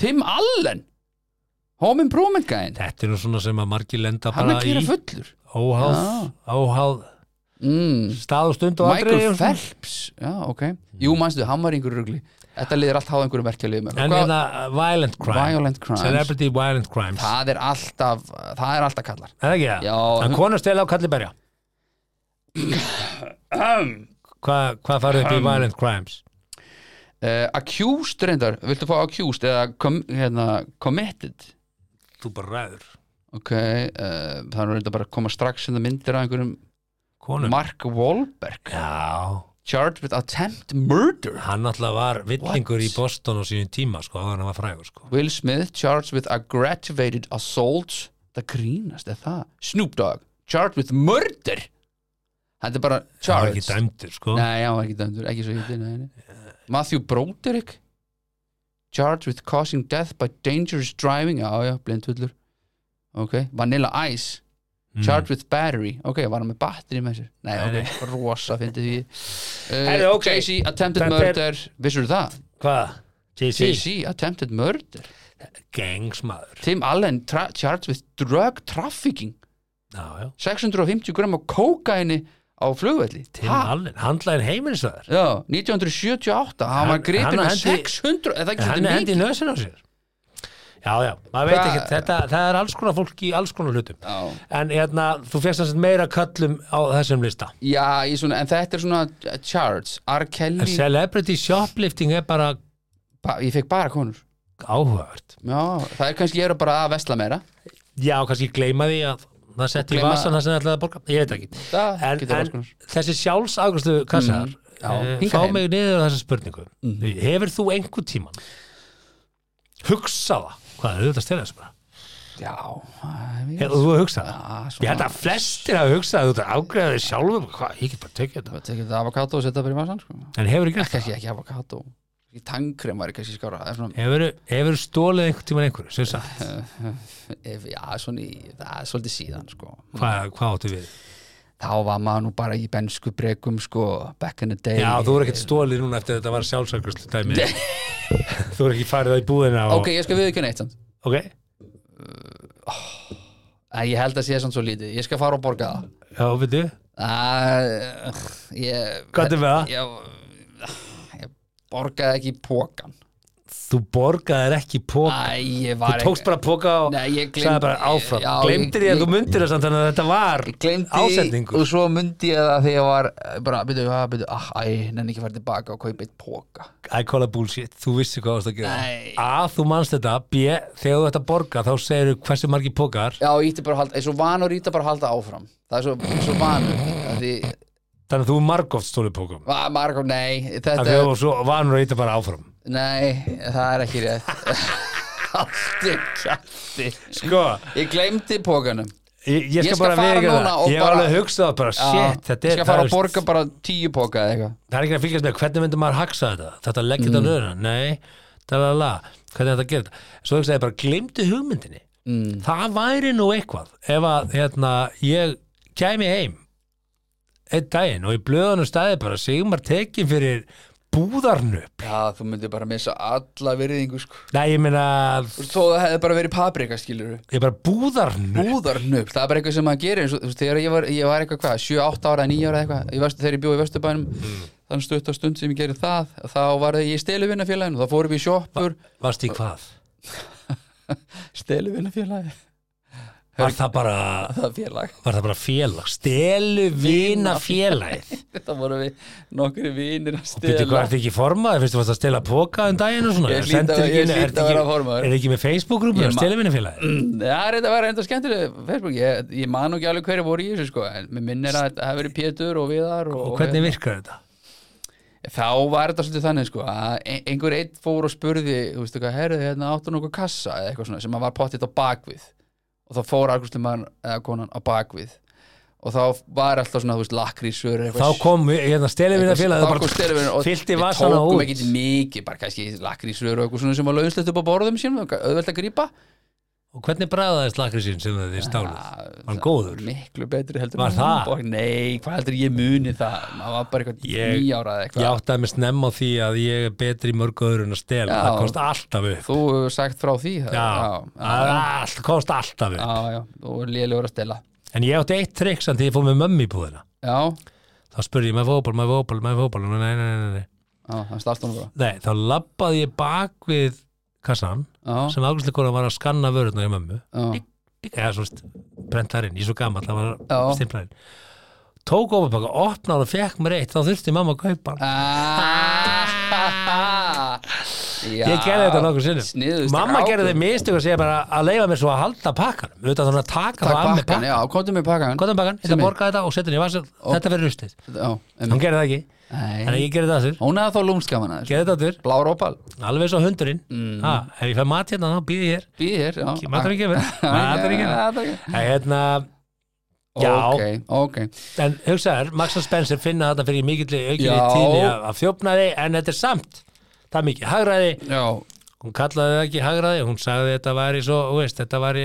B: Tim Allen Home Improvement gæðin
A: Þetta er nú svona sem að margir lenda
B: Hann
A: bara
B: er
A: í
B: kýra fullur
A: óháð, óháð
B: mm.
A: stað og stund og aldrei
B: Michael Phelps, já, ok Jú, manstu, hann var í einhverju rugli Þetta liðir allt háð einhverju merkjaliðum
A: En hérna, uh, violent crime
B: Violent crimes.
A: Celebrity violent crimes
B: það er alltaf það er alltaf kallar
A: Er það ekki það?
B: Já.
A: En konur stela á kalliberja Hvað hva farið upp í violent crimes?
B: uh, accused reyndar, viltu fá accused eða com, hérna, committed
A: Þú bara ræður
B: ok, uh, það er reynda bara að koma strax sem það myndir að einhverjum
A: Konum
B: Mark Wahlberg
A: Já,
B: charged with attempt murder
A: hann alltaf var villingur
B: What?
A: í Boston á sínum tíma sko, áður en hann var frægur sko
B: Will Smith charged with aggravated assault það grínast, er það Snoop Dogg, charged with murder þetta er bara
A: Hann var ekki
B: charged
A: dæmdur sko
B: Nei, já, ekki dæmdur, ekki svo hittir nei, nei. Matthew Broderick Charged with causing death by dangerous driving Já, já, blindhullur Ok, Vanilla Ice Charged with battery Ok, var hann með batteri með sér Nei,
A: Hmm. Nei,
B: ok, rosa fyndi því
A: Herri,
B: uh,
A: ok.
B: Jay-Z attempted
A: Þetta er-
B: murder Vissur það?
A: Hvað? JC?
B: Jay-Z attempted murder
A: Gangsmaður
B: Tim Allen tra charged with drug trafficking
A: Já, já
B: 650 gram af kókaini á flugvelli
A: Tim
B: Ha?
A: Allen, handlaðin heimilisvæður
B: Já, 1978, hann var
A: Hann-
B: gripin
A: hann
B: með
A: hendi-
B: 600, eða ekki
A: Hann
B: svolítið
A: er
B: mikið
A: hendi nösin á sér Já, já, maður veit
B: Hva-
A: ekki, þetta, það er alls konar fólk í alls konar hlutum
B: Já.
A: En hérna, þú férst þess að meira köllum á þessum lista
B: Já, í svona, en þetta er svona charts, R.
A: En
B: Kelly,
A: celebrity shoplifting er bara
B: ba ég fekk bara konur.
A: áhugavert
B: Já, það er kannski ég er bara að vesla meira.
A: Já, kannski gleyma því að það setti í
B: Gleyma-
A: vasan það sem það ætlaði að borga Ég veit ekki
B: Það
A: En,
B: getur alls
A: en
B: konar.
A: þessi sjálfsafgræslu kassar
B: já,
A: eh,
B: hingað
A: Fá
B: heim. Mhm.
A: mig niður á þessa spurningu Hefur þú einhver tíman hugsaða Hvað er auðvitað að stela þessu bara?
B: Já, það er
A: Hefur þú hugsað það?
B: Já,
A: Ég held
B: svona,
A: að flestir hafa hugsað að þú ert afgræðið sjálfum Hvað, ég get bara tekið þetta
B: það tekið þetta avokado og setja bara í vasan, sko.
A: En hefur ekki
B: Kannski ekki avokado. Í tangkrem væri kannski skára. Það er svona,
A: Hefur, hefur stólið einhvern tíman einhverju, sem sagt
B: ef, já, svona í, það er svolítið síðan, sko.
A: Hvað hva áttu við?
B: Þá var maður nú bara í bensku brekum, sko, back in the day.
A: Já, þú er ekkert stólið núna eftir að þetta var sjálfsafgræslu dæmi Þú er ekki farið það í búðina og...
B: Ok, ég skal við ekki neitt samt.
A: ok
B: Æ, Ég held að sé samt svo lítið. Ég skal fara og borga það.
A: Já, veitu,
B: Æ, Ah, ég...
A: hvað er með það?
B: ég, ég borgaði ekki í pókan
A: Þú borgaðir ekki póka
B: Æ, ég
A: Þú
B: var
A: tókst bara póka og
B: Nei, ég gleymd-
A: sagði bara áfram
B: Já,
A: Glemdir
B: ég-
A: ég að
B: ég-
A: þú myndir það samt þannig að þetta var
B: ég glemdi
A: ásetningur
B: og svo myndi ég það þegar ég var eh, bara, byrju, ah, byrju, ah, æ, nenni ekki að fara tilbaka og kaupa eitt póka
A: I call it bullshit, þú vissi hvað varst að gera
B: Nei.
A: A, þú manst þetta, B, þegar þú ert að borga þá segirðu hversu margir pókar
B: Já, ég ítti bara að halda, ég er svo vanur ítti bara að halda áfram Það er svo, ég er svo vanur af Því,
A: þannig að þú margóft stólið pókum
B: va, Marko, nei,
A: af
B: þetta
A: því að þú svo vanur að eitthvað bara áfram
B: Nei, það er ekki rétt Haldi, kjætti
A: Sko,
B: Ég glemdi pókanum
A: ég, ég
B: Ég
A: skal
B: skal
A: bara
B: fara
A: viðurkenna
B: núna
A: það.
B: og
A: Ég var
B: bara-
A: alveg að hugsa það bara, shit,
B: Já,
A: þetta
B: Ég
A: er
B: skal fara að
A: það er-
B: borga bara tíu póka eða eitthvað
A: það er ekki að fylgjast með hvernig myndum maður haksa þetta þetta leggja þetta á
B: Mm.
A: nöðuna, nei talala, hvernig þetta gerir þetta svo hugsaði ég bara, glimtu hugmyndinni mm. það væri nú eitthvað ef að hérna, ég kæmi heim einn daginn og í blöðunum staði bara Sigmar tekin fyrir búðarnöp
B: Já, þú myndir bara missa alla virðingu sko.
A: nei, ég meina,
B: Þú veist, Þó það hefði bara verið paprika, skilur
A: ég bara búðarnöp
B: Búðarnöpp, það er bara eitthvað sem maður gerir eins og, þú veist, Þegar ég var, ég var eitthvað, hvað, 7-8 ára, 9 ára eða eitthvað ég vestu, Þegar ég bjóði í Vesturbænum
A: Mm.
B: Þannig stutt á stund sem ég gerði það Þá var ég í steluvinnafélaginu, þá fórum við í sjoppur
A: varst í hvað?
B: Steluvinnafélagi,
A: Var það bara,
B: það er félag
A: var það bara félag? Stelu vina félagið?
B: Þá vorum við nokkri vinir að
A: Býttu hvað,
B: stela
A: ertu ekki formaður? Fyrstu varst að stela póka um daginn og svona?
B: Ég hlýt
A: Sendir
B: að- ég
A: ekki-
B: hlýt
A: ertu
B: að
A: ekki-
B: vera formaður.
A: Er ekki með Facebook-grúpu
B: Ég
A: og
B: ma- Mm.
A: stelvinafélagi?
B: Já, þetta var enda skemmtileg Facebook, ég, ég man nú ekki alveg hverju voru í þessu sko, en mér minnir að það hefur verið Pétur og Viðar og,
A: Og hvernig virkar þetta?
B: þá var þetta svolítið þannig sko að ein- einhver einn fór og spurði þú veistu hvað, herðu hérna áttu nokkuð kassa eða eitthvað svona sem að var pottitt á bakvið og þá fór argustum mann eða konan á bakvið og þá var alltaf svona þú veist lakrísur
A: Þá kom hérna stelvinafélagi og bara fyllti vasana
B: tókum
A: út.
B: ekkert mikið bara kannski lakrísur og eitthvað svona sem var launslegt upp á borðum sínum og auðvelt að grípa
A: Og hvernig bræðaðist lakrísinn sem þið stáluð? Var hann góður?
B: Ah, miklu betri heldur
A: Var
B: en
A: það?
B: hún borg- nei, hvað heldur ég muni það maður var bara eitthvað
A: Ég-
B: nýjára eða
A: Ég
B: eitthvað
A: átti að með snemma á því að ég er betri í mörgu öðru en að stela.
B: Já.
A: Það komst alltaf upp.
B: þú hefur sagt frá því það-
A: Já, það er allt, komst alltaf upp.
B: Já, já, og lélegur að stela
A: En ég átti eitt trikk samt því ég fór með mömmu í búðina.
B: Já,
A: Þá spurði ég, maður fókból, maður fókból, maður fókból, nei, nei, nei, nei, nei.
B: já það starst hún bara
A: Nei, þá labbaði ég bak við kassan
B: Já,
A: sem afgjörsleikona var að skanna vörurnar í mömmu
B: já,
A: eða svona brentarinn, ég er svo gammal það var
B: Já.
A: stimplaðinn tók ofapakka, opnaði og fekk mér eitt þá þurfti mamma að kaupa hann
B: Ah, Já,
A: Ah. ég gerði þetta nokkuð sinnum
B: sniðugt,
A: mamma
B: strákur.
A: gerði þið mistök að segja bara að leifa mér svo að halda pakkanum við veitum að taka það
B: Takk
A: af með
B: pakkan,
A: pakkan
B: já, komdu með pakkan
A: hvað það pakkan,
B: Sem
A: þetta
B: er-
A: borga þetta og setja henni í vasan þetta verður rustið,
B: Já, um,
A: hún gerði það ekki en
B: Nei,
A: ég gerði það þurr,
B: hún hefði þá lúmskaman aðeins
A: gerði það þurr
B: Blár ópal,
A: alveg svo hundurinn,
B: Mm.
A: ha, ef ég fæ mat hérna þá býði ég hér,
B: býð hér já.
A: matur ekki verið matur ekki verið
B: Matur ekki
A: hérna, já,
B: Ok, ok
A: en hugsaður Max og Spencer finna þetta fyrir mikilli aukinni
B: Já.
A: tíðni af, af þjófnaði en þetta er samt það er mikið hagræði
B: Já,
A: hún kallaði það ekki hagraði, hún sagði þetta væri svo, þú veist, þetta væri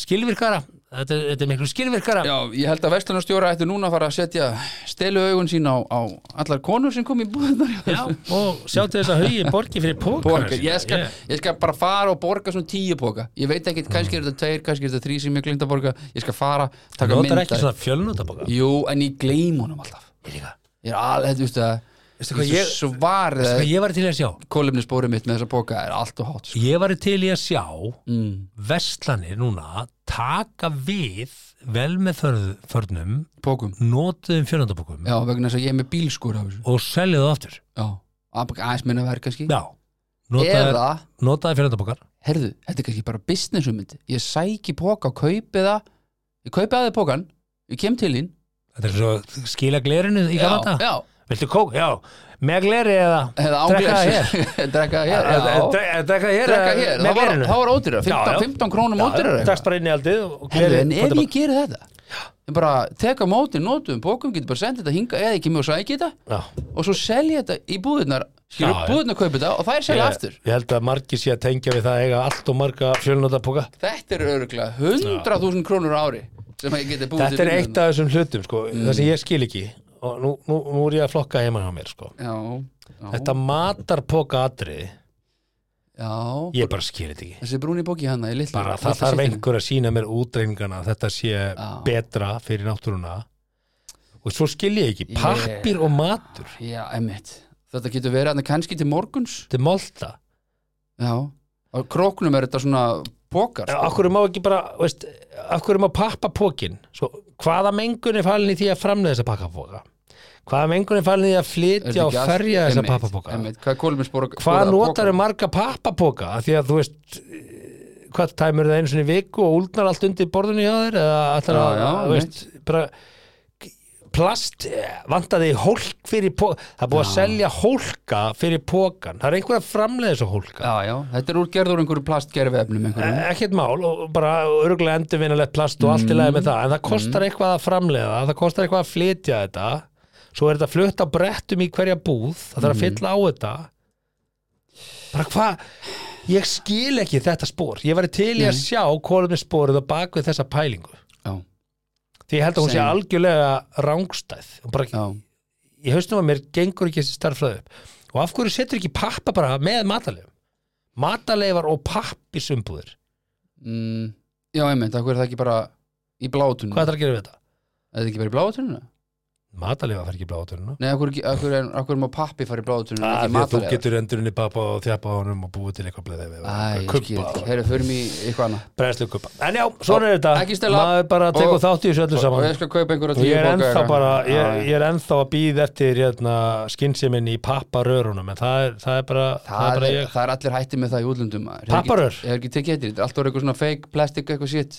A: skilvirkara, þetta, þetta er miklu skilvirkara
B: já, ég held að vestlunarstjóra ætti núna að fara að setja stelu augun sín á, á allar konur sem kom í búðunar
A: Já, og sjáttu þess að hugi borgi fyrir pókana
B: Póka, ég skal, ég skal bara fara og borga svona tíu póka Ég veit ekki,
A: Mm.
B: kannski er þetta tveir, kannski er þetta þrý sem ég glemt að borga Ég skal fara, taka
A: Notar
B: mynda
A: ekki svona fjölnotabóka
B: Jú, en ég gleym honum alltaf
A: Ég líka.
B: Ég er alveg, þú veist að
A: Veistu hvað
B: ég er
A: ég-
B: svo svarið
A: Sko,
B: að
A: Ég var til í að sjá
B: kólumnisporið mitt með þessa póka er allt og hátt sko.
A: Ég var til í að sjá
B: mm.
A: verslanir núna taka við vel með förð- förnum
B: Pókum,
A: notuðum fjölnotabókum
B: já, vegna þess að ég er með bílskúr af þessu
A: og selja það aftur
B: Já, að- aðeins minna verð kannski
A: Já, notaði,
B: Eða,
A: notaði fjölnotabókar
B: herðu, þetta er kannski bara businessumundi Ég sæki póka og kaupi það Ég kaupi aðeins pókan, ég kem til þín
A: Þetta er svo skila glerinu í
B: Já,
A: gamata
B: já,
A: Viltu kók? Já, með gleri eða
B: eða
A: Drekka það hér
B: ánglæs Drekka það hér, já
A: Eh, dre- eh, Drekka það hér
B: Drekka
A: eða
B: hér,
A: Með
B: það var,
A: glerinu
B: það var ódýra 15,
A: Já, já.
B: 15 krónum ódýra
A: Takst bara inn í aldið og
B: Herðu, en
A: glerið kom
B: ef
A: tilbaka.
B: ég geri þetta Ég bara teka móti, notuðum bókum, getur bara sendið þetta hinga eða ekki mjög sæki þetta
A: Já.
B: og svo selja þetta í búðunar skilur,
A: Já, já.
B: búðunar kaupi þetta og þær selja aftur
A: Ég held að margir sé að tengja við það að eiga allt og marga fjölnótapoka
B: Þetta er örgulega 100.000 krónur á ári sem ég geti búið
A: Þetta er eitt af þessum hlutum sko, það sem ég skil ekki og nú, nú, nú er ég að flokka heima hjá mér sko.
B: Já, já,
A: Þetta matarpoka atriði
B: já
A: ég bara skil þetta ekki
B: Þessi brúni bóki hana í litla
A: bara,
B: litla
A: Það þarf
B: syllinu.
A: einhver að sína mér útreiningana að þetta sé betra fyrir náttúruna og svo skil ég ekki pappir og matur
B: Já, emmitt Þetta getur verið hann kannski til morguns
A: Þetta er molta
B: Já Á króknum er þetta svona bókar
A: En Akkur má ekki bara, veist, akkur má pappa pókin Svo, hvaða mengun er falin í því að framlega þessa pakkapóka? Hvaða mengun er falin í því að flytja og ferja þessa pappapóka?
B: Hvað er kóluminsbóka?
A: Hvað notar er marga pappapóka? Af Því að þú veist, eh, hvað tæmur það einu svona í viku og úlnar allt undir borðinu hjá þér? Eða allar
B: Já,
A: að,
B: já,
A: þú veist, bara plast eh, vantaði hólk fyrir póka það er búið að selja hólka fyrir pókan það er einhver að framlega þessu hólka
B: Já, já, þetta er úr gerður einhverju plastgerfiðefnum einhverjum
A: E, ekkert mál og bara örgulega endurvinnalegt plast og allt í lagi með það en það kostar eitthvað að framleiða, það kostar eitthvað að flytja þetta svo er þetta flutt á brettum í hverja búð, það
B: Mhm.
A: þarf að fylla á þetta bara hvað ég skil ekki þetta spór ég var til í að sjá kólumni spórið og bakvið þessa pælingu
B: Já,
A: því ég held að hún sé
B: Same.
A: algjörlega rángstæð og bara
B: já,
A: ég haustum að mér gengur ekki þessi starffræði upp og af hverju setur ekki pappa bara með matalegum mataleifar og pappisumbúðir
B: mm, já, einmitt, það er það ekki bara í blátunum
A: hvað er það að gera við þetta?
B: Er það ekki bara í blátunum?
A: Matalefa fer ekki í bláa tunnuna
B: Nei, akkur, akkur, akkur, akkur má pappi fara í blátunum
A: Af
B: ekki
A: því að Þú
B: matalega
A: getur endurinni pappa og þjapa á honum og búið til eitthvað bleið
B: Æ, ég skil ekki,
A: Kubba,
B: herru, förum í eitthvað annað
A: bræðslu kubba En já, svona er þetta
B: Ekki stela.
A: Maður bara tekur
B: Og-
A: þátt í þessu öllu
B: Og
A: saman
B: ég skal kaupa einhverja
A: Og
B: tíu
A: ég er
B: bóka
A: ennþá
B: eitthvað.
A: bara
B: Já,
A: Ég, ég er ennþá að býða eftir hérna, skynseimin í papparörunum En það er, það er bara Það er
B: Það
A: bara
B: er,
A: ég
B: það er allir hætti með það í útlöndum maður. Ég hef ekki-
A: Papparör?
B: Ég hef ekki tekið eitthvað, þetta er alltaf orðið eitthvað svona fake plastic eitthvað shit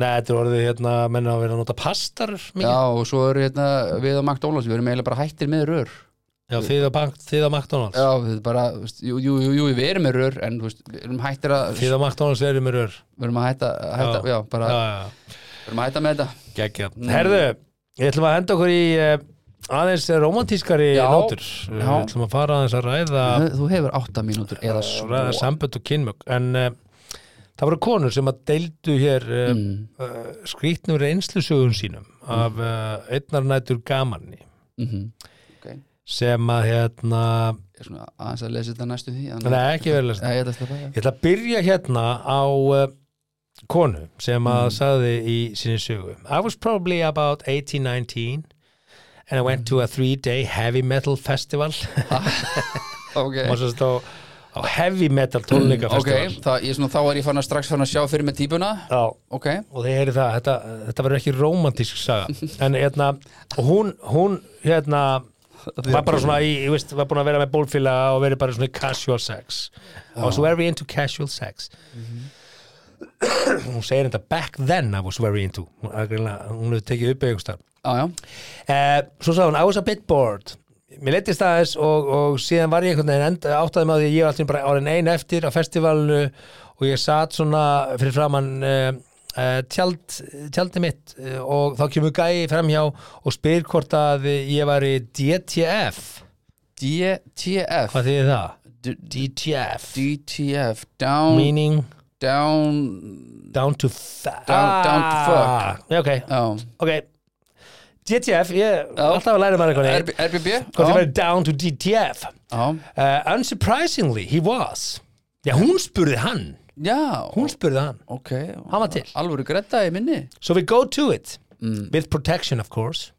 A: Nei, þetta er orðið hérna Menna að vera að nota pastar mikið
B: Já, og svo eru hérna við á McDonalds, við erum eiginlega bara hættir með rör
A: Já, þið á, bank, þið á McDonalds
B: Já, þetta er bara, þú veist, jú, jú, jú, jú, við erum með rör en þú veist, við erum hættir að
A: Þið á McDonalds eru mér ör
B: við erum að hætta, að hætta já. bara,
A: Já, já
B: við erum að hætta með þetta
A: Gekja.
B: Mm.
A: Herðu, ég ætlum að henda okkur í eh, aðeins romantískari
B: Já.
A: nótur. Eh, Við
B: Já.
A: ætlum að fara aðeins að ræða,
B: þú hefur átta mínútur eða svo
A: ræða sambönd og kynmök. En uh, það voru konur sem að deildu hér uh, mm.
B: Mm,
A: uh, skrýtnum reynslusögun sínum af uh, einnar nætur gamanni
B: mhm.
A: sem að hérna,
B: Ég er svona aðeins að lesa þetta næstu því en-
A: neða ekki vel að
B: Nei, ég ætla að sleppa, já.
A: Ég ætla að byrja hérna á uh, konu sem að sagði í sinni sögu. I was probably about 18, 19 and I went to a three day heavy metal festival.
B: Ok,
A: Má svo stá á heavy metal tónleika
B: Mm, ok,
A: festival.
B: það, ég, svona, þá er ég fann að strax fann að sjá fyrir með típuna
A: Já,
B: Ok,
A: og þið heyri það, þetta, þetta verður ekki rómantísk saga. En hérna, og hún, hún hérna, var bara svona, í, ég veist, var búin að vera með bólfíla og verið bara svona í casual sex I was very into casual sex hún segir þetta back then I was very into hún, greinilega- hún hefur tekið upp einhverstað
B: Já, já,
A: uh, svo sagði hún, I was a bit bored mér leittist aðeins og, og síðan var ég einhvern veginn enda, áttaði með því að ég var alltaf bara árin ein eftir á festivalinu og ég satt svona fyrir framann uh, uh, tjald, tjaldi mitt uh, og þá kemur gæi framhjá og spyr hvort að ég var í DTF
B: DTF
A: hvað þýðir það?
B: D-
A: DTF
B: DTF, down
A: meaning
B: down
A: down to fuck
B: Down- down to fuck.
A: Já, ok,
B: já,
A: ok DTF, ég alltaf að læra maður eitthvað neitt
B: RB, RBB
A: hvort ég
B: já,
A: var down to DTF
B: já,
A: Uh, unsurprisingly, he was Já, hún spurði hann
B: já,
A: Hún spurði hann
B: ok
A: Hann var til.
B: alvöru gretta í minni
A: So we go to it With protection, of course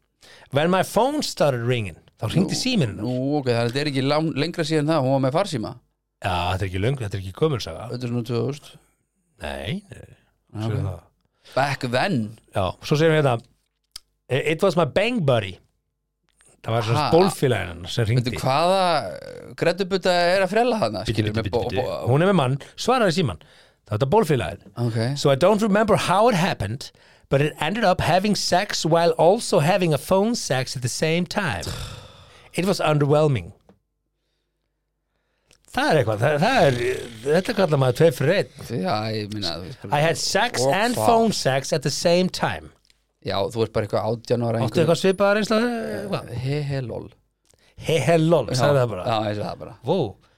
A: When my phone started ringing Þá hringdi síminn hennar
B: Nú, ok, það er ekki lang, lengra síðan það, hún var með farsíma
A: Já, þetta er ekki löngu, þetta er ekki gömursaga
B: Þetta er svona 2000
A: Nei, nei
B: ok.
A: okay.
B: Back then
A: Já, svo segir hún hérna "Eh, It was my bang buddy Það var svona
B: Ha?
A: spólfélagin hennar sem
B: Veitu
A: hringdi
B: hvaða grettubutta er að frella hana
A: Bíddu,
B: skilur,
A: bíddu,
B: með
A: bíddu,
B: bó-
A: bíddu.
B: bó-
A: Hún er með mann, svaraði símann Það var þetta bólfélagin
B: Ok,
A: So I don't remember how it happened, but it ended up having sex while also having a phone sex at the same time. It was underwhelming. Það er eitthvað, það, það er, þetta kallar maður tvei fyrir einn.
B: já, ég minna
A: I had sex
B: Og
A: and
B: hvað?
A: phone sex at the same time.
B: Já, þú ert bara eitthvað átján ára
A: Áttu eitthvað svipaðar eins og það?
B: He, he, lol
A: Hei, hei, lol, sagði það bara.
B: Eh, Já, ég sagði það bara
A: Vó,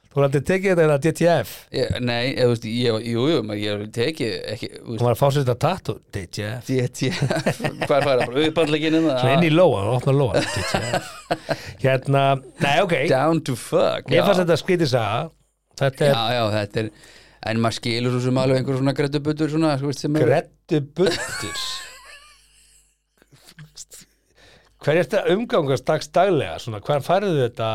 A: þú er aldrei tekið þetta en að DTF.
B: ég, Nei, ég, veist, ég, jú, jú, maður- ég teki ekki, þú veist,
A: Hún var að fá sér þetta tattu, DTF.
B: DTF Hvað er það, bara uppallegin
A: Svo inn í lóa, þú opnar lóa, DTF. Hérna, nei, ok.
B: Down to fuck
A: Ég fannst
B: já.
A: þetta skrítið saga Þetta er
B: já, já, þetta er En maður skilur svo sem alveg einhver svona grettubuttur svona, sko veist, sem er
A: grettu buttur Hver er þetta umgangast dags daglega? Svona, hver færðu þetta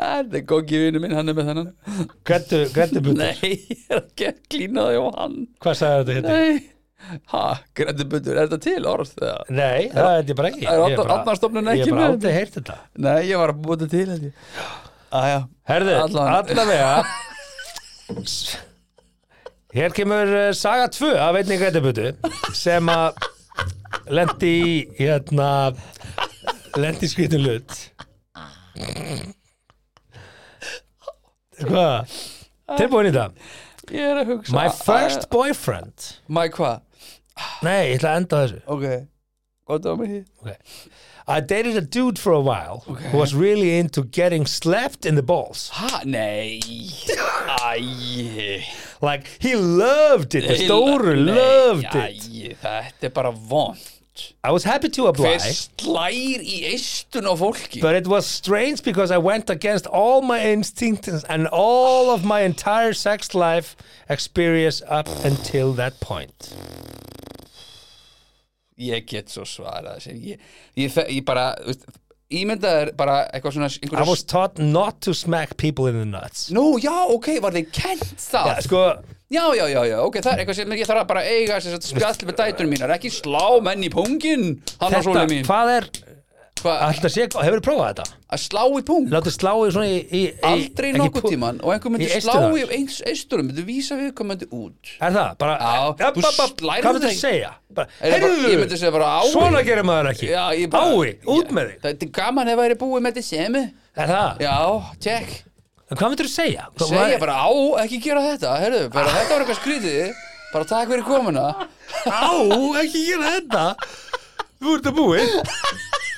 B: Ah, Þetta er góki vinnu minn, hann er með þennan
A: grettu, grettu buttur?
B: Nei, ég er ekki að klína það á hann
A: Hvað sagði þetta hérna?
B: Nei, ha, grettubuttur, er þetta til orð? eða?
A: Nei, það er þetta bara ekki
B: Það er
A: Ég bara-
B: Árnastofnun ekki
A: Ég bara
B: með
A: aldrei heyrt þetta
B: Nei, ég var að búa þetta til held ég Æja,
A: Herðu,
B: Allan-
A: allavega Hér kemur eh, saga 2 af einni grætabutu sem að lendi í hérna lendi í skrítin hlut Hvað? Tilbúin í það
B: ég er að hugsa
A: My first boyfriend
B: My hvað?
A: Nei, ég ætla að enda á þessu
B: Ok, gott á mig
A: I dated a dude for a while who was really into getting slapped in the balls
B: Ha, nei Æj
A: Like, he loved it, the stóru
B: Nei,
A: loved it
B: Æj, þetta er bara vond
A: I was happy to apply,
B: Hver slær í eistun á fólki
A: but it was strange because I went against all my instincts and all of my entire sex life experience up until that point.
B: Ég get svo svarað þessi Ég, ég, fe- ég bara, þú veist, ímyndað er bara eitthvað svona
A: I
B: einhverja-
A: was taught not to smack people in the nuts.
B: Nú, já, ok, var þið kent það
A: Sko,
B: Já, já, já, já, ok, það er eitthvað sem ég þarf að bara eiga þess að spjall með dætunum mínar, ekki slá menn í pungin, hann á svona
A: þetta,
B: mín
A: hvað er,
B: Hva,
A: alltaf sé, hefur þið prófað þetta?
B: að slá í pung
A: Láttu sláið svona í... í, í
B: aldrei
A: ekki
B: nokkuð
A: pu-
B: tíman og einhver myndi
A: í
B: slá
A: eistuna.
B: í eins eisturum, myndi vísa viðkomandi út
A: Er það? Bara,
B: Já,
A: ja,
B: þú
A: ba, ba,
B: slærðu
A: hvað myndir
B: þig.
A: segja? Bara,
B: Er það bara-
A: heyrðu,
B: ég myndi segja bara, ái.
A: svona gerir maður ekki.
B: Já, ég bara
A: Ái, út með þig.
B: Þetta er gaman ef það er búið með þetta semi
A: Er það?
B: Já, tjekk,
A: En Hvað myndir þú segja? Hvað-
B: segja bara á, ekki gera þetta, herru, bara þetta var eitthvað skrítið Bara takk fyrir komuna
A: Á, ekki gera þetta Þú ert að búið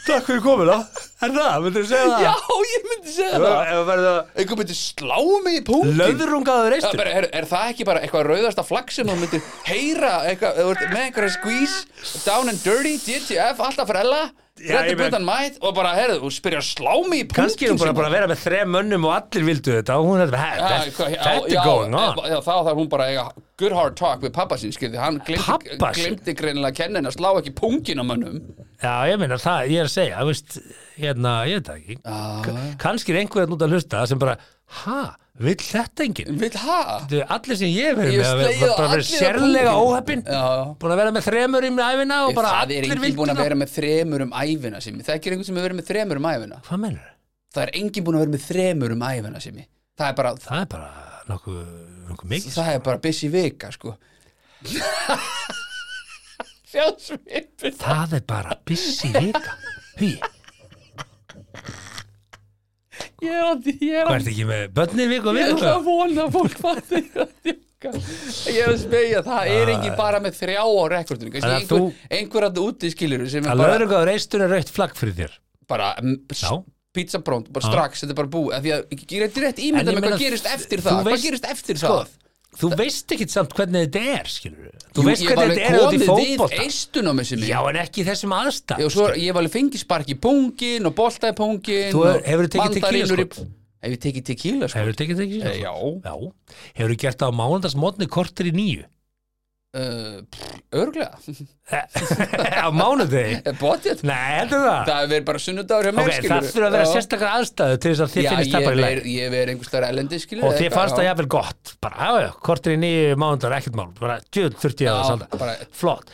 A: Takk fyrir komuna Er það, myndir þú segja það?
B: Já, ég myndi segja
A: Ef
B: það
A: það verður
B: Einhver myndi slá mig í pungin
A: löðrungaður
B: Já,
A: reistur
B: bara, er, er það ekki bara eitthvað rauðasta flagg sem þú myndir heyra eitthvað, þú ert með einhverja squeeze down and dirty, DTF, alltaf frella
A: Já, ég
B: réttu
A: meina-
B: butan mætt og bara, heyrðu, þú spyrja að slá mig í punktinn
A: Kannski er hún bara,
B: sem-
A: bara að vera með þrem mönnum og allir vildu þetta og hún er þetta,
B: Já,
A: þetta
B: hvað- já,
A: þetta
B: já,
A: er going on
B: Já, þá þarf hún bara að eiga good hard talk við pappa sín, skilði, hann glimti,
A: Pabba sinn?
B: glimti greinilega að kenna henni að slá ekki pungin á mönnum
A: Já, ég meina það, ég er að segja, þú veist hérna, ég veit það ekki Ka- Kannski er einhverjum út að hlusta sem bara ha, vill þetta enginn?
B: Vil það?
A: Þetta er Allir sem ég hef verið
B: Ég
A: með að
B: slegið
A: vera-
B: á
A: bara verið
B: allir á
A: sérlega
B: punktinn.
A: óheppin
B: Já.
A: búin að vera með þremur í æfina og bara
B: Það er
A: allir
B: enginn
A: vildu
B: búin að
A: þetta
B: vera með þremur um æfina sem, það er ekki einhvern sem hefur verið með þremur um æfina
A: Hvað mennur?
B: það er engin búin að vera með þremur um æfina sem ég það er bara,
A: það er bara nokkuð nokkuð mikið
B: það er bara busy vika sko sjálfsvipið
A: það er bara busy vika hví,
B: ég er að, ég er
A: hvað
B: að
A: ertu ekki með börnin viku og
B: ég
A: viku
B: ætla að vona að fólk fatti ég er að spegja það er engin bara með þrjá á rekordinu kannski
A: Ah. Þannig að
B: einhver, einhver að úti skilur sem er
A: að
B: bara,
A: lögur og reistur er raukt flagg fyrir þér
B: bara mm, s-
A: já, Ah.
B: pizza brónd, bara strax, þetta er bara búið af því að ég er rétt ímynda
A: En ég
B: með hvað
A: meina,
B: gerist eftir
A: þú
B: það hvað
A: veist-
B: gerist eftir
A: sko,
B: það
A: þú veist ekkit samt hvernig þetta er skilur
B: Jú,
A: þú veist
B: ég hef
A: hvernig
B: alveg
A: þetta er út í
B: komið við
A: fótbolta
B: eistun á mig sem
A: já, en ekki í þessum aðstæð
B: og svo er- ég hef alveg fengið spark í pungin og bolta í pungin
A: Þú
B: og
A: hefurðu tekið
B: mandarínur
A: tequila, sko.
B: í- hef ég tekið tequila sko
A: hefur þú tekið þetta
B: Eh,
A: ekki
B: já.
A: já. hefur þú gert það á mánundagsmótni kortir í nýju
B: uh, pff, örglega,
A: á mánundegi
B: bótið
A: nei, heldur það
B: það hefur verið bara sunnudagur hjá mér
A: Ok, það
B: skilurðu.
A: þurfa að vera
B: Já.
A: sérstakar aðstæðu til þess að þið
B: Já,
A: finnist
B: ég
A: það bara í leik
B: verið ég verið einhvers staðar elendi skilur
A: og þið fannst það jafnvel gott bara, já, já, kortir í nýju mánundar, ekkert mál bara, djöð, þurfti ég að
B: Já,
A: salda
B: bara-
A: flott,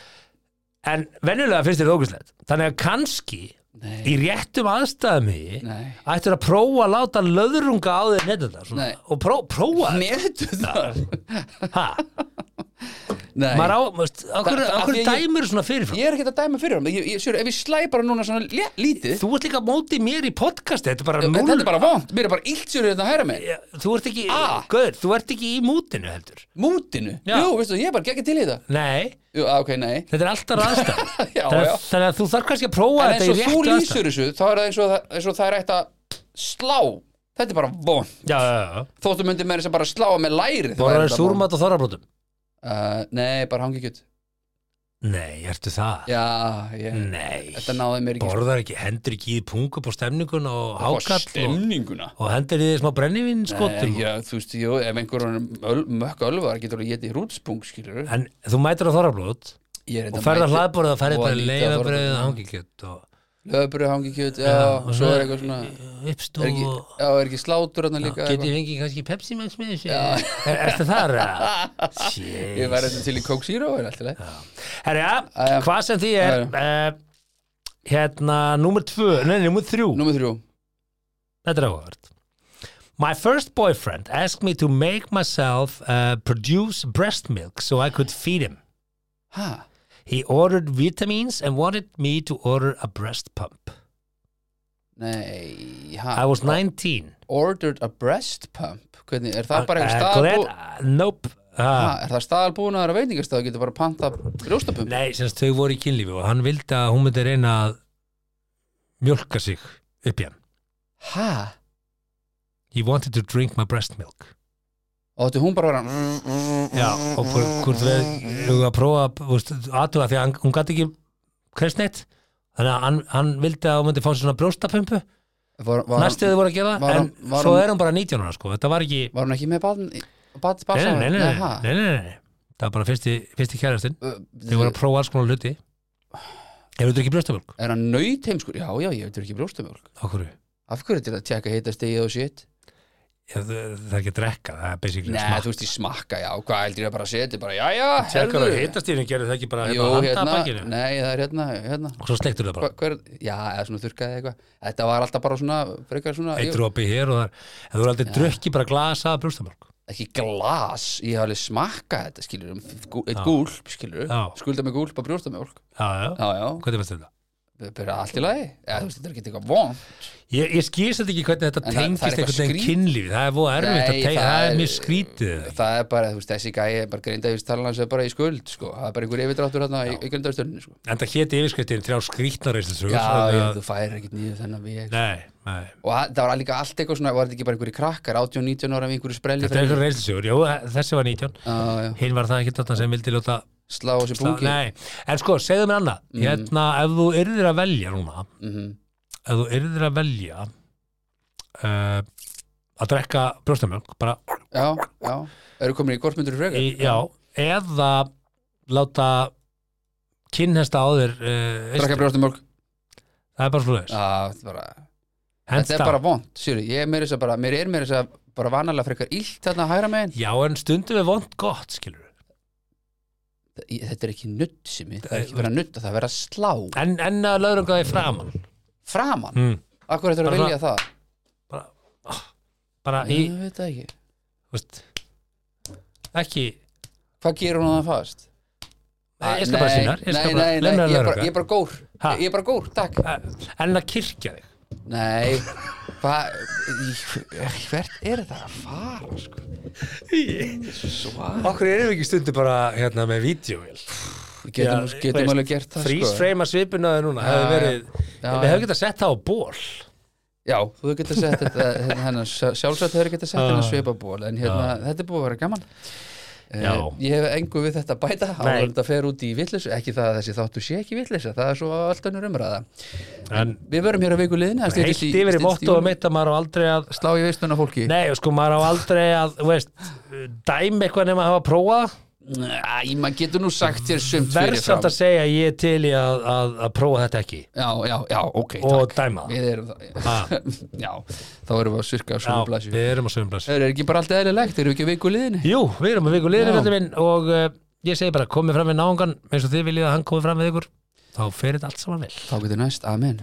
A: en venjulega finnst þið það ógæslegt, þannig að kannski
B: Nei.
A: í réttum aðstæðum í
B: Nei.
A: ættir að prófa að láta löðrunga á þig netundar svona,
B: Nei.
A: og pró, prófa
B: Netuðar
A: ha,
B: Nei,
A: maður á, veist, okkur,
B: Það- það-
A: okkur
B: af því að ég-
A: dæmur svona fyrirfram
B: ég er ekkert að dæma fyrir hann ég, ég, sér, Ef ég slæ bara núna svona lé, lítið
A: þú ert líka á móti mér í podcasti, þetta er bara
B: Þetta
A: núll
B: er bara vond, mér er bara illt sér þetta að hæra mig
A: Já, þú ert ekki,
B: Ah.
A: gaur, þú ert ekki í mútinu heldur
B: Mútinu,
A: Já.
B: jú, veistu, ég er bara gekkið til í þetta
A: nei,
B: Jú, á, ok, nei
A: þetta er alltaf aðstæð
B: Já,
A: þannig,
B: já
A: að- þannig að þú þarf kannski að prófa
B: En
A: þetta
B: eins
A: í
B: og þú
A: réttu aðstæð
B: lýsur þessu, þá er það eins og það, eins og það er eitt að slá Þetta er bara vond
A: já, já, já,
B: Þóttu myndi með þess að bara slá með lærið þá er
A: borðar
B: þetta vont.
A: súrmat og þorrabrótum
B: Uh, Nei, bara hangi kjött
A: nei, ertu það?
B: Já, ég,
A: nei,
B: þetta náði mér ekki
A: borðar ekki, hendur ekki í pungu upp á stemningun og
B: sko.
A: hákall og,
B: stemninguna
A: og hendur í því smá brennivín skotum
B: Nei, Já, þú veist, jú, ef einhverjum mökk ölvar getur alveg getið hrútspung, skilur
A: en þú mætir á þorrablót og ferð að hlaðborða og ferð
B: voða
A: bara
B: lítið á
A: leiðabröðið
B: þorrablót.
A: hangikjöt og
B: Löðbröð hangi kjöt, já, og svo er eitthvað svona
A: uppstú
B: er ekki,
A: og
B: Já, er ekki slátur hann líka
A: geti
B: eitthvað.
A: fengið kannski Pepsi Max með þessu Er- ertu þar?
B: Ég
A: Sjétt
B: var eitthvað til í Coke Zero, er alltaf leið
A: Herja,
B: Jæja.
A: hvað sem því er uh, hérna, númer tvö nei, númer þrjú,
B: Númer þrjú
A: þetta er áhugavert My first boyfriend asked me to make myself uh, produce breast milk so I could feed him
B: Ha,
A: He ordered vitamins and wanted me to order a breast pump
B: nei, ha
A: I was 19
B: Ordered a breast pump Hvernig, er það Ah, bara
A: Uh, glad- uh, Nope
B: eitthvað staðalbú Ha,
A: uh,
B: er það staðalbúin að það er veitingastað getur bara panta brjóstapump
A: Nei, semst þau voru í kynlífi og hann vildi að hún myndi reyna að mjölka sig upp í hann
B: Ha,
A: He wanted to drink my breast milk
B: og þetta hún bara var hann
A: Já, og hvort, hvort við hefur að prófa þú veist, aðtuga því að hann, hún gæti ekki kristneitt þannig að hann, hann vildi að hún myndi fá sér svona brjóstapumpu
B: Var, var,
A: næstu þau voru að gera
B: var
A: en
B: hann- var
A: svo
B: hann-
A: er hún bara 19 ára sko þetta var ekki
B: Var hún ekki með badn Bad,
A: nei,
B: badn
A: nei, nei, nei, nei, nei, nei, nei, nei. það var bara fyrsti, fyrsti kærastinn þau voru að prófa alls konar hluti hefur þú ekki brjóstapump?
B: Er hann nöyt heimskur? Já, já, ég veitur ekki brjóstumjólk
A: Okkur
B: Af hverju til að tjekka hitastegið og shit?
A: það það er ekki að drekka það er basically
B: Nei, þú veist, ég smakka, já, hvað heldur ég að bara setja bara, já, já,
A: tjekkar og hitastýrin gerðu það ekki bara
B: Jú,
A: hérna á
B: hérna,
A: handabakinu
B: nei, það er hérna, hérna
A: og svo sleiktur það bara
B: Hva, hver, Já, eða svona þurrkaði eitthvað Þetta var alltaf bara svona, frekar svona
A: eitt
B: jú,
A: dropi hér og þar en þú voru aldrei drukkið bara glasa brjóstapump
B: Ekki glas, ég hef alveg smakkað þetta, skilur um, gú- Eitt gúlp, skilur
A: Já.
B: Skulda mig gúlp að brjósta mig, fólk
A: já, já,
B: Já, já,
A: hvernig finnst þetta?
B: það er allt í lagi Eða, þú veist, þetta er ekki eitthvað vond
A: Ég, ég skýrst þetta ekki hvernig þetta
B: En það- það er
A: tengist
B: eitthvað
A: einhvern veginn
B: skrýt-
A: kynlífi það er fóða erfitt að
B: Nei,
A: tengja,
B: það
A: það er
B: er-
A: mjög skrítið
B: Það er bara, þú veist, þessi gæi er bara grindavíðstalan hans er bara í skuld, sko Það er bara einhver yfirdráttur hérna í, í grindavíðstölinu, sko
A: en það héti yfirskriftin þrjá skrítnar
B: Já, ég,
A: nei,
B: þú færir ekkert nýju þennan veg
A: nei,
B: Og það það var líka allt eitthvað svona, var þetta ekki bara einhverju krakkar 18-19 ára við einhverju sprelli
A: þetta er einhver reynslsögur jú, þessi var 19,
B: Já, já,
A: hinn var það ekki þetta sem vildi ljóta
B: Slá þessi bungi
A: nei, en sko, segðu mér annað
B: Mm.
A: hérna, ef þú yrðir að velja núna
B: Mhm.
A: ef þú yrðir að velja uh, að drekka brjóstamjölk, bara,
B: Já, já, eru komin í kortmyndur frekar
A: í, já eða láta kynhesta á þér uh,
B: Drakka brjóstumjólk
A: það er bara slúðis,
B: Þetta
A: hands
B: er
A: down
B: bara vond, sér ég er meira þess að bara, mér er meira þess að bara vanalega frekar illt þarna hægra megin
A: Já, en stundum er vond gott, skilur
B: Ég- Þetta er ekki nutt sem ég, það er ekki verið að nutta, það er verið að slá
A: En, en að lögur um hvað er framan
B: Framan,
A: mm.
B: akkur þetta er að
A: Bara
B: vilja það
E: bara í,
B: Ég veit það ekki
E: þú veist ekki,
B: Hvað gerur hún að það fast? Ah,
E: Nei, ég skal bara sínar, ég skal
B: Nei,
E: bara-
B: nei, nei,
E: Leið mér að
B: ég er
E: lögregla.
B: bara, ég er bara gór
E: Ha?
B: Ég er bara gór, takk
E: eh, en að kirkja þig
B: Nei, hvað Hvert er þetta að fara, sko? Svart
A: Okkur erum við ekki stundu bara hérna með vídjóvél
B: Við getum,
A: Já,
B: getum
A: veist,
B: alveg gert það,
A: Freeze
B: sko
A: frame að svipinu aðeins núna hefði
B: Já,
A: verið,
B: já,
A: við
B: já.
A: hefði getað sett það á ból
B: Já, þú getur sett þetta hérna, hennar, Sjálfsagt hefur getað sett
A: Ah.
B: hennar svipaból En hérna, þetta er búið að vera gaman Eh,
A: Já.
B: Ég hef engu við þetta að bæta
A: Nei.
B: áður þetta fer út í vitleysu, ekki það að þessi þáttu sé ekki vitleysa, það er svo allt önnur umræða
A: En
B: Við verum hér að viku liðin
A: heilt yfir í mottu og mitt að maður á aldrei að
B: Slá í veistuna fólki
A: Nei, sko, maður á aldrei að, þú veist, dæmi eitthvað nema að hafa prófað það.
B: Æ, maður getur nú sagt þér sumt
A: Verð samt
B: fyrirfram
A: að segja að ég er til í að, að, að prófa þetta ekki
B: Já, já, já, ok,
A: og
B: takk
A: dæma það.
B: Við erum
A: Ha.
B: það Já, þá erum við að svirka á svona
A: Já,
B: blæsju
A: við erum á sögum blæsju.
B: Það er ekki bara allt eðlilegt, erum við ekki að viku liðinni
A: Jú, við erum að viku liðinu
B: Já.
A: þetta minn og uh, ég segi bara, komið fram við náungan eins og þið viljið að hann komið fram við ykkur þá fer þetta allt saman vel.
B: Þá getur næst, amen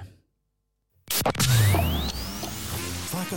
D: Þakka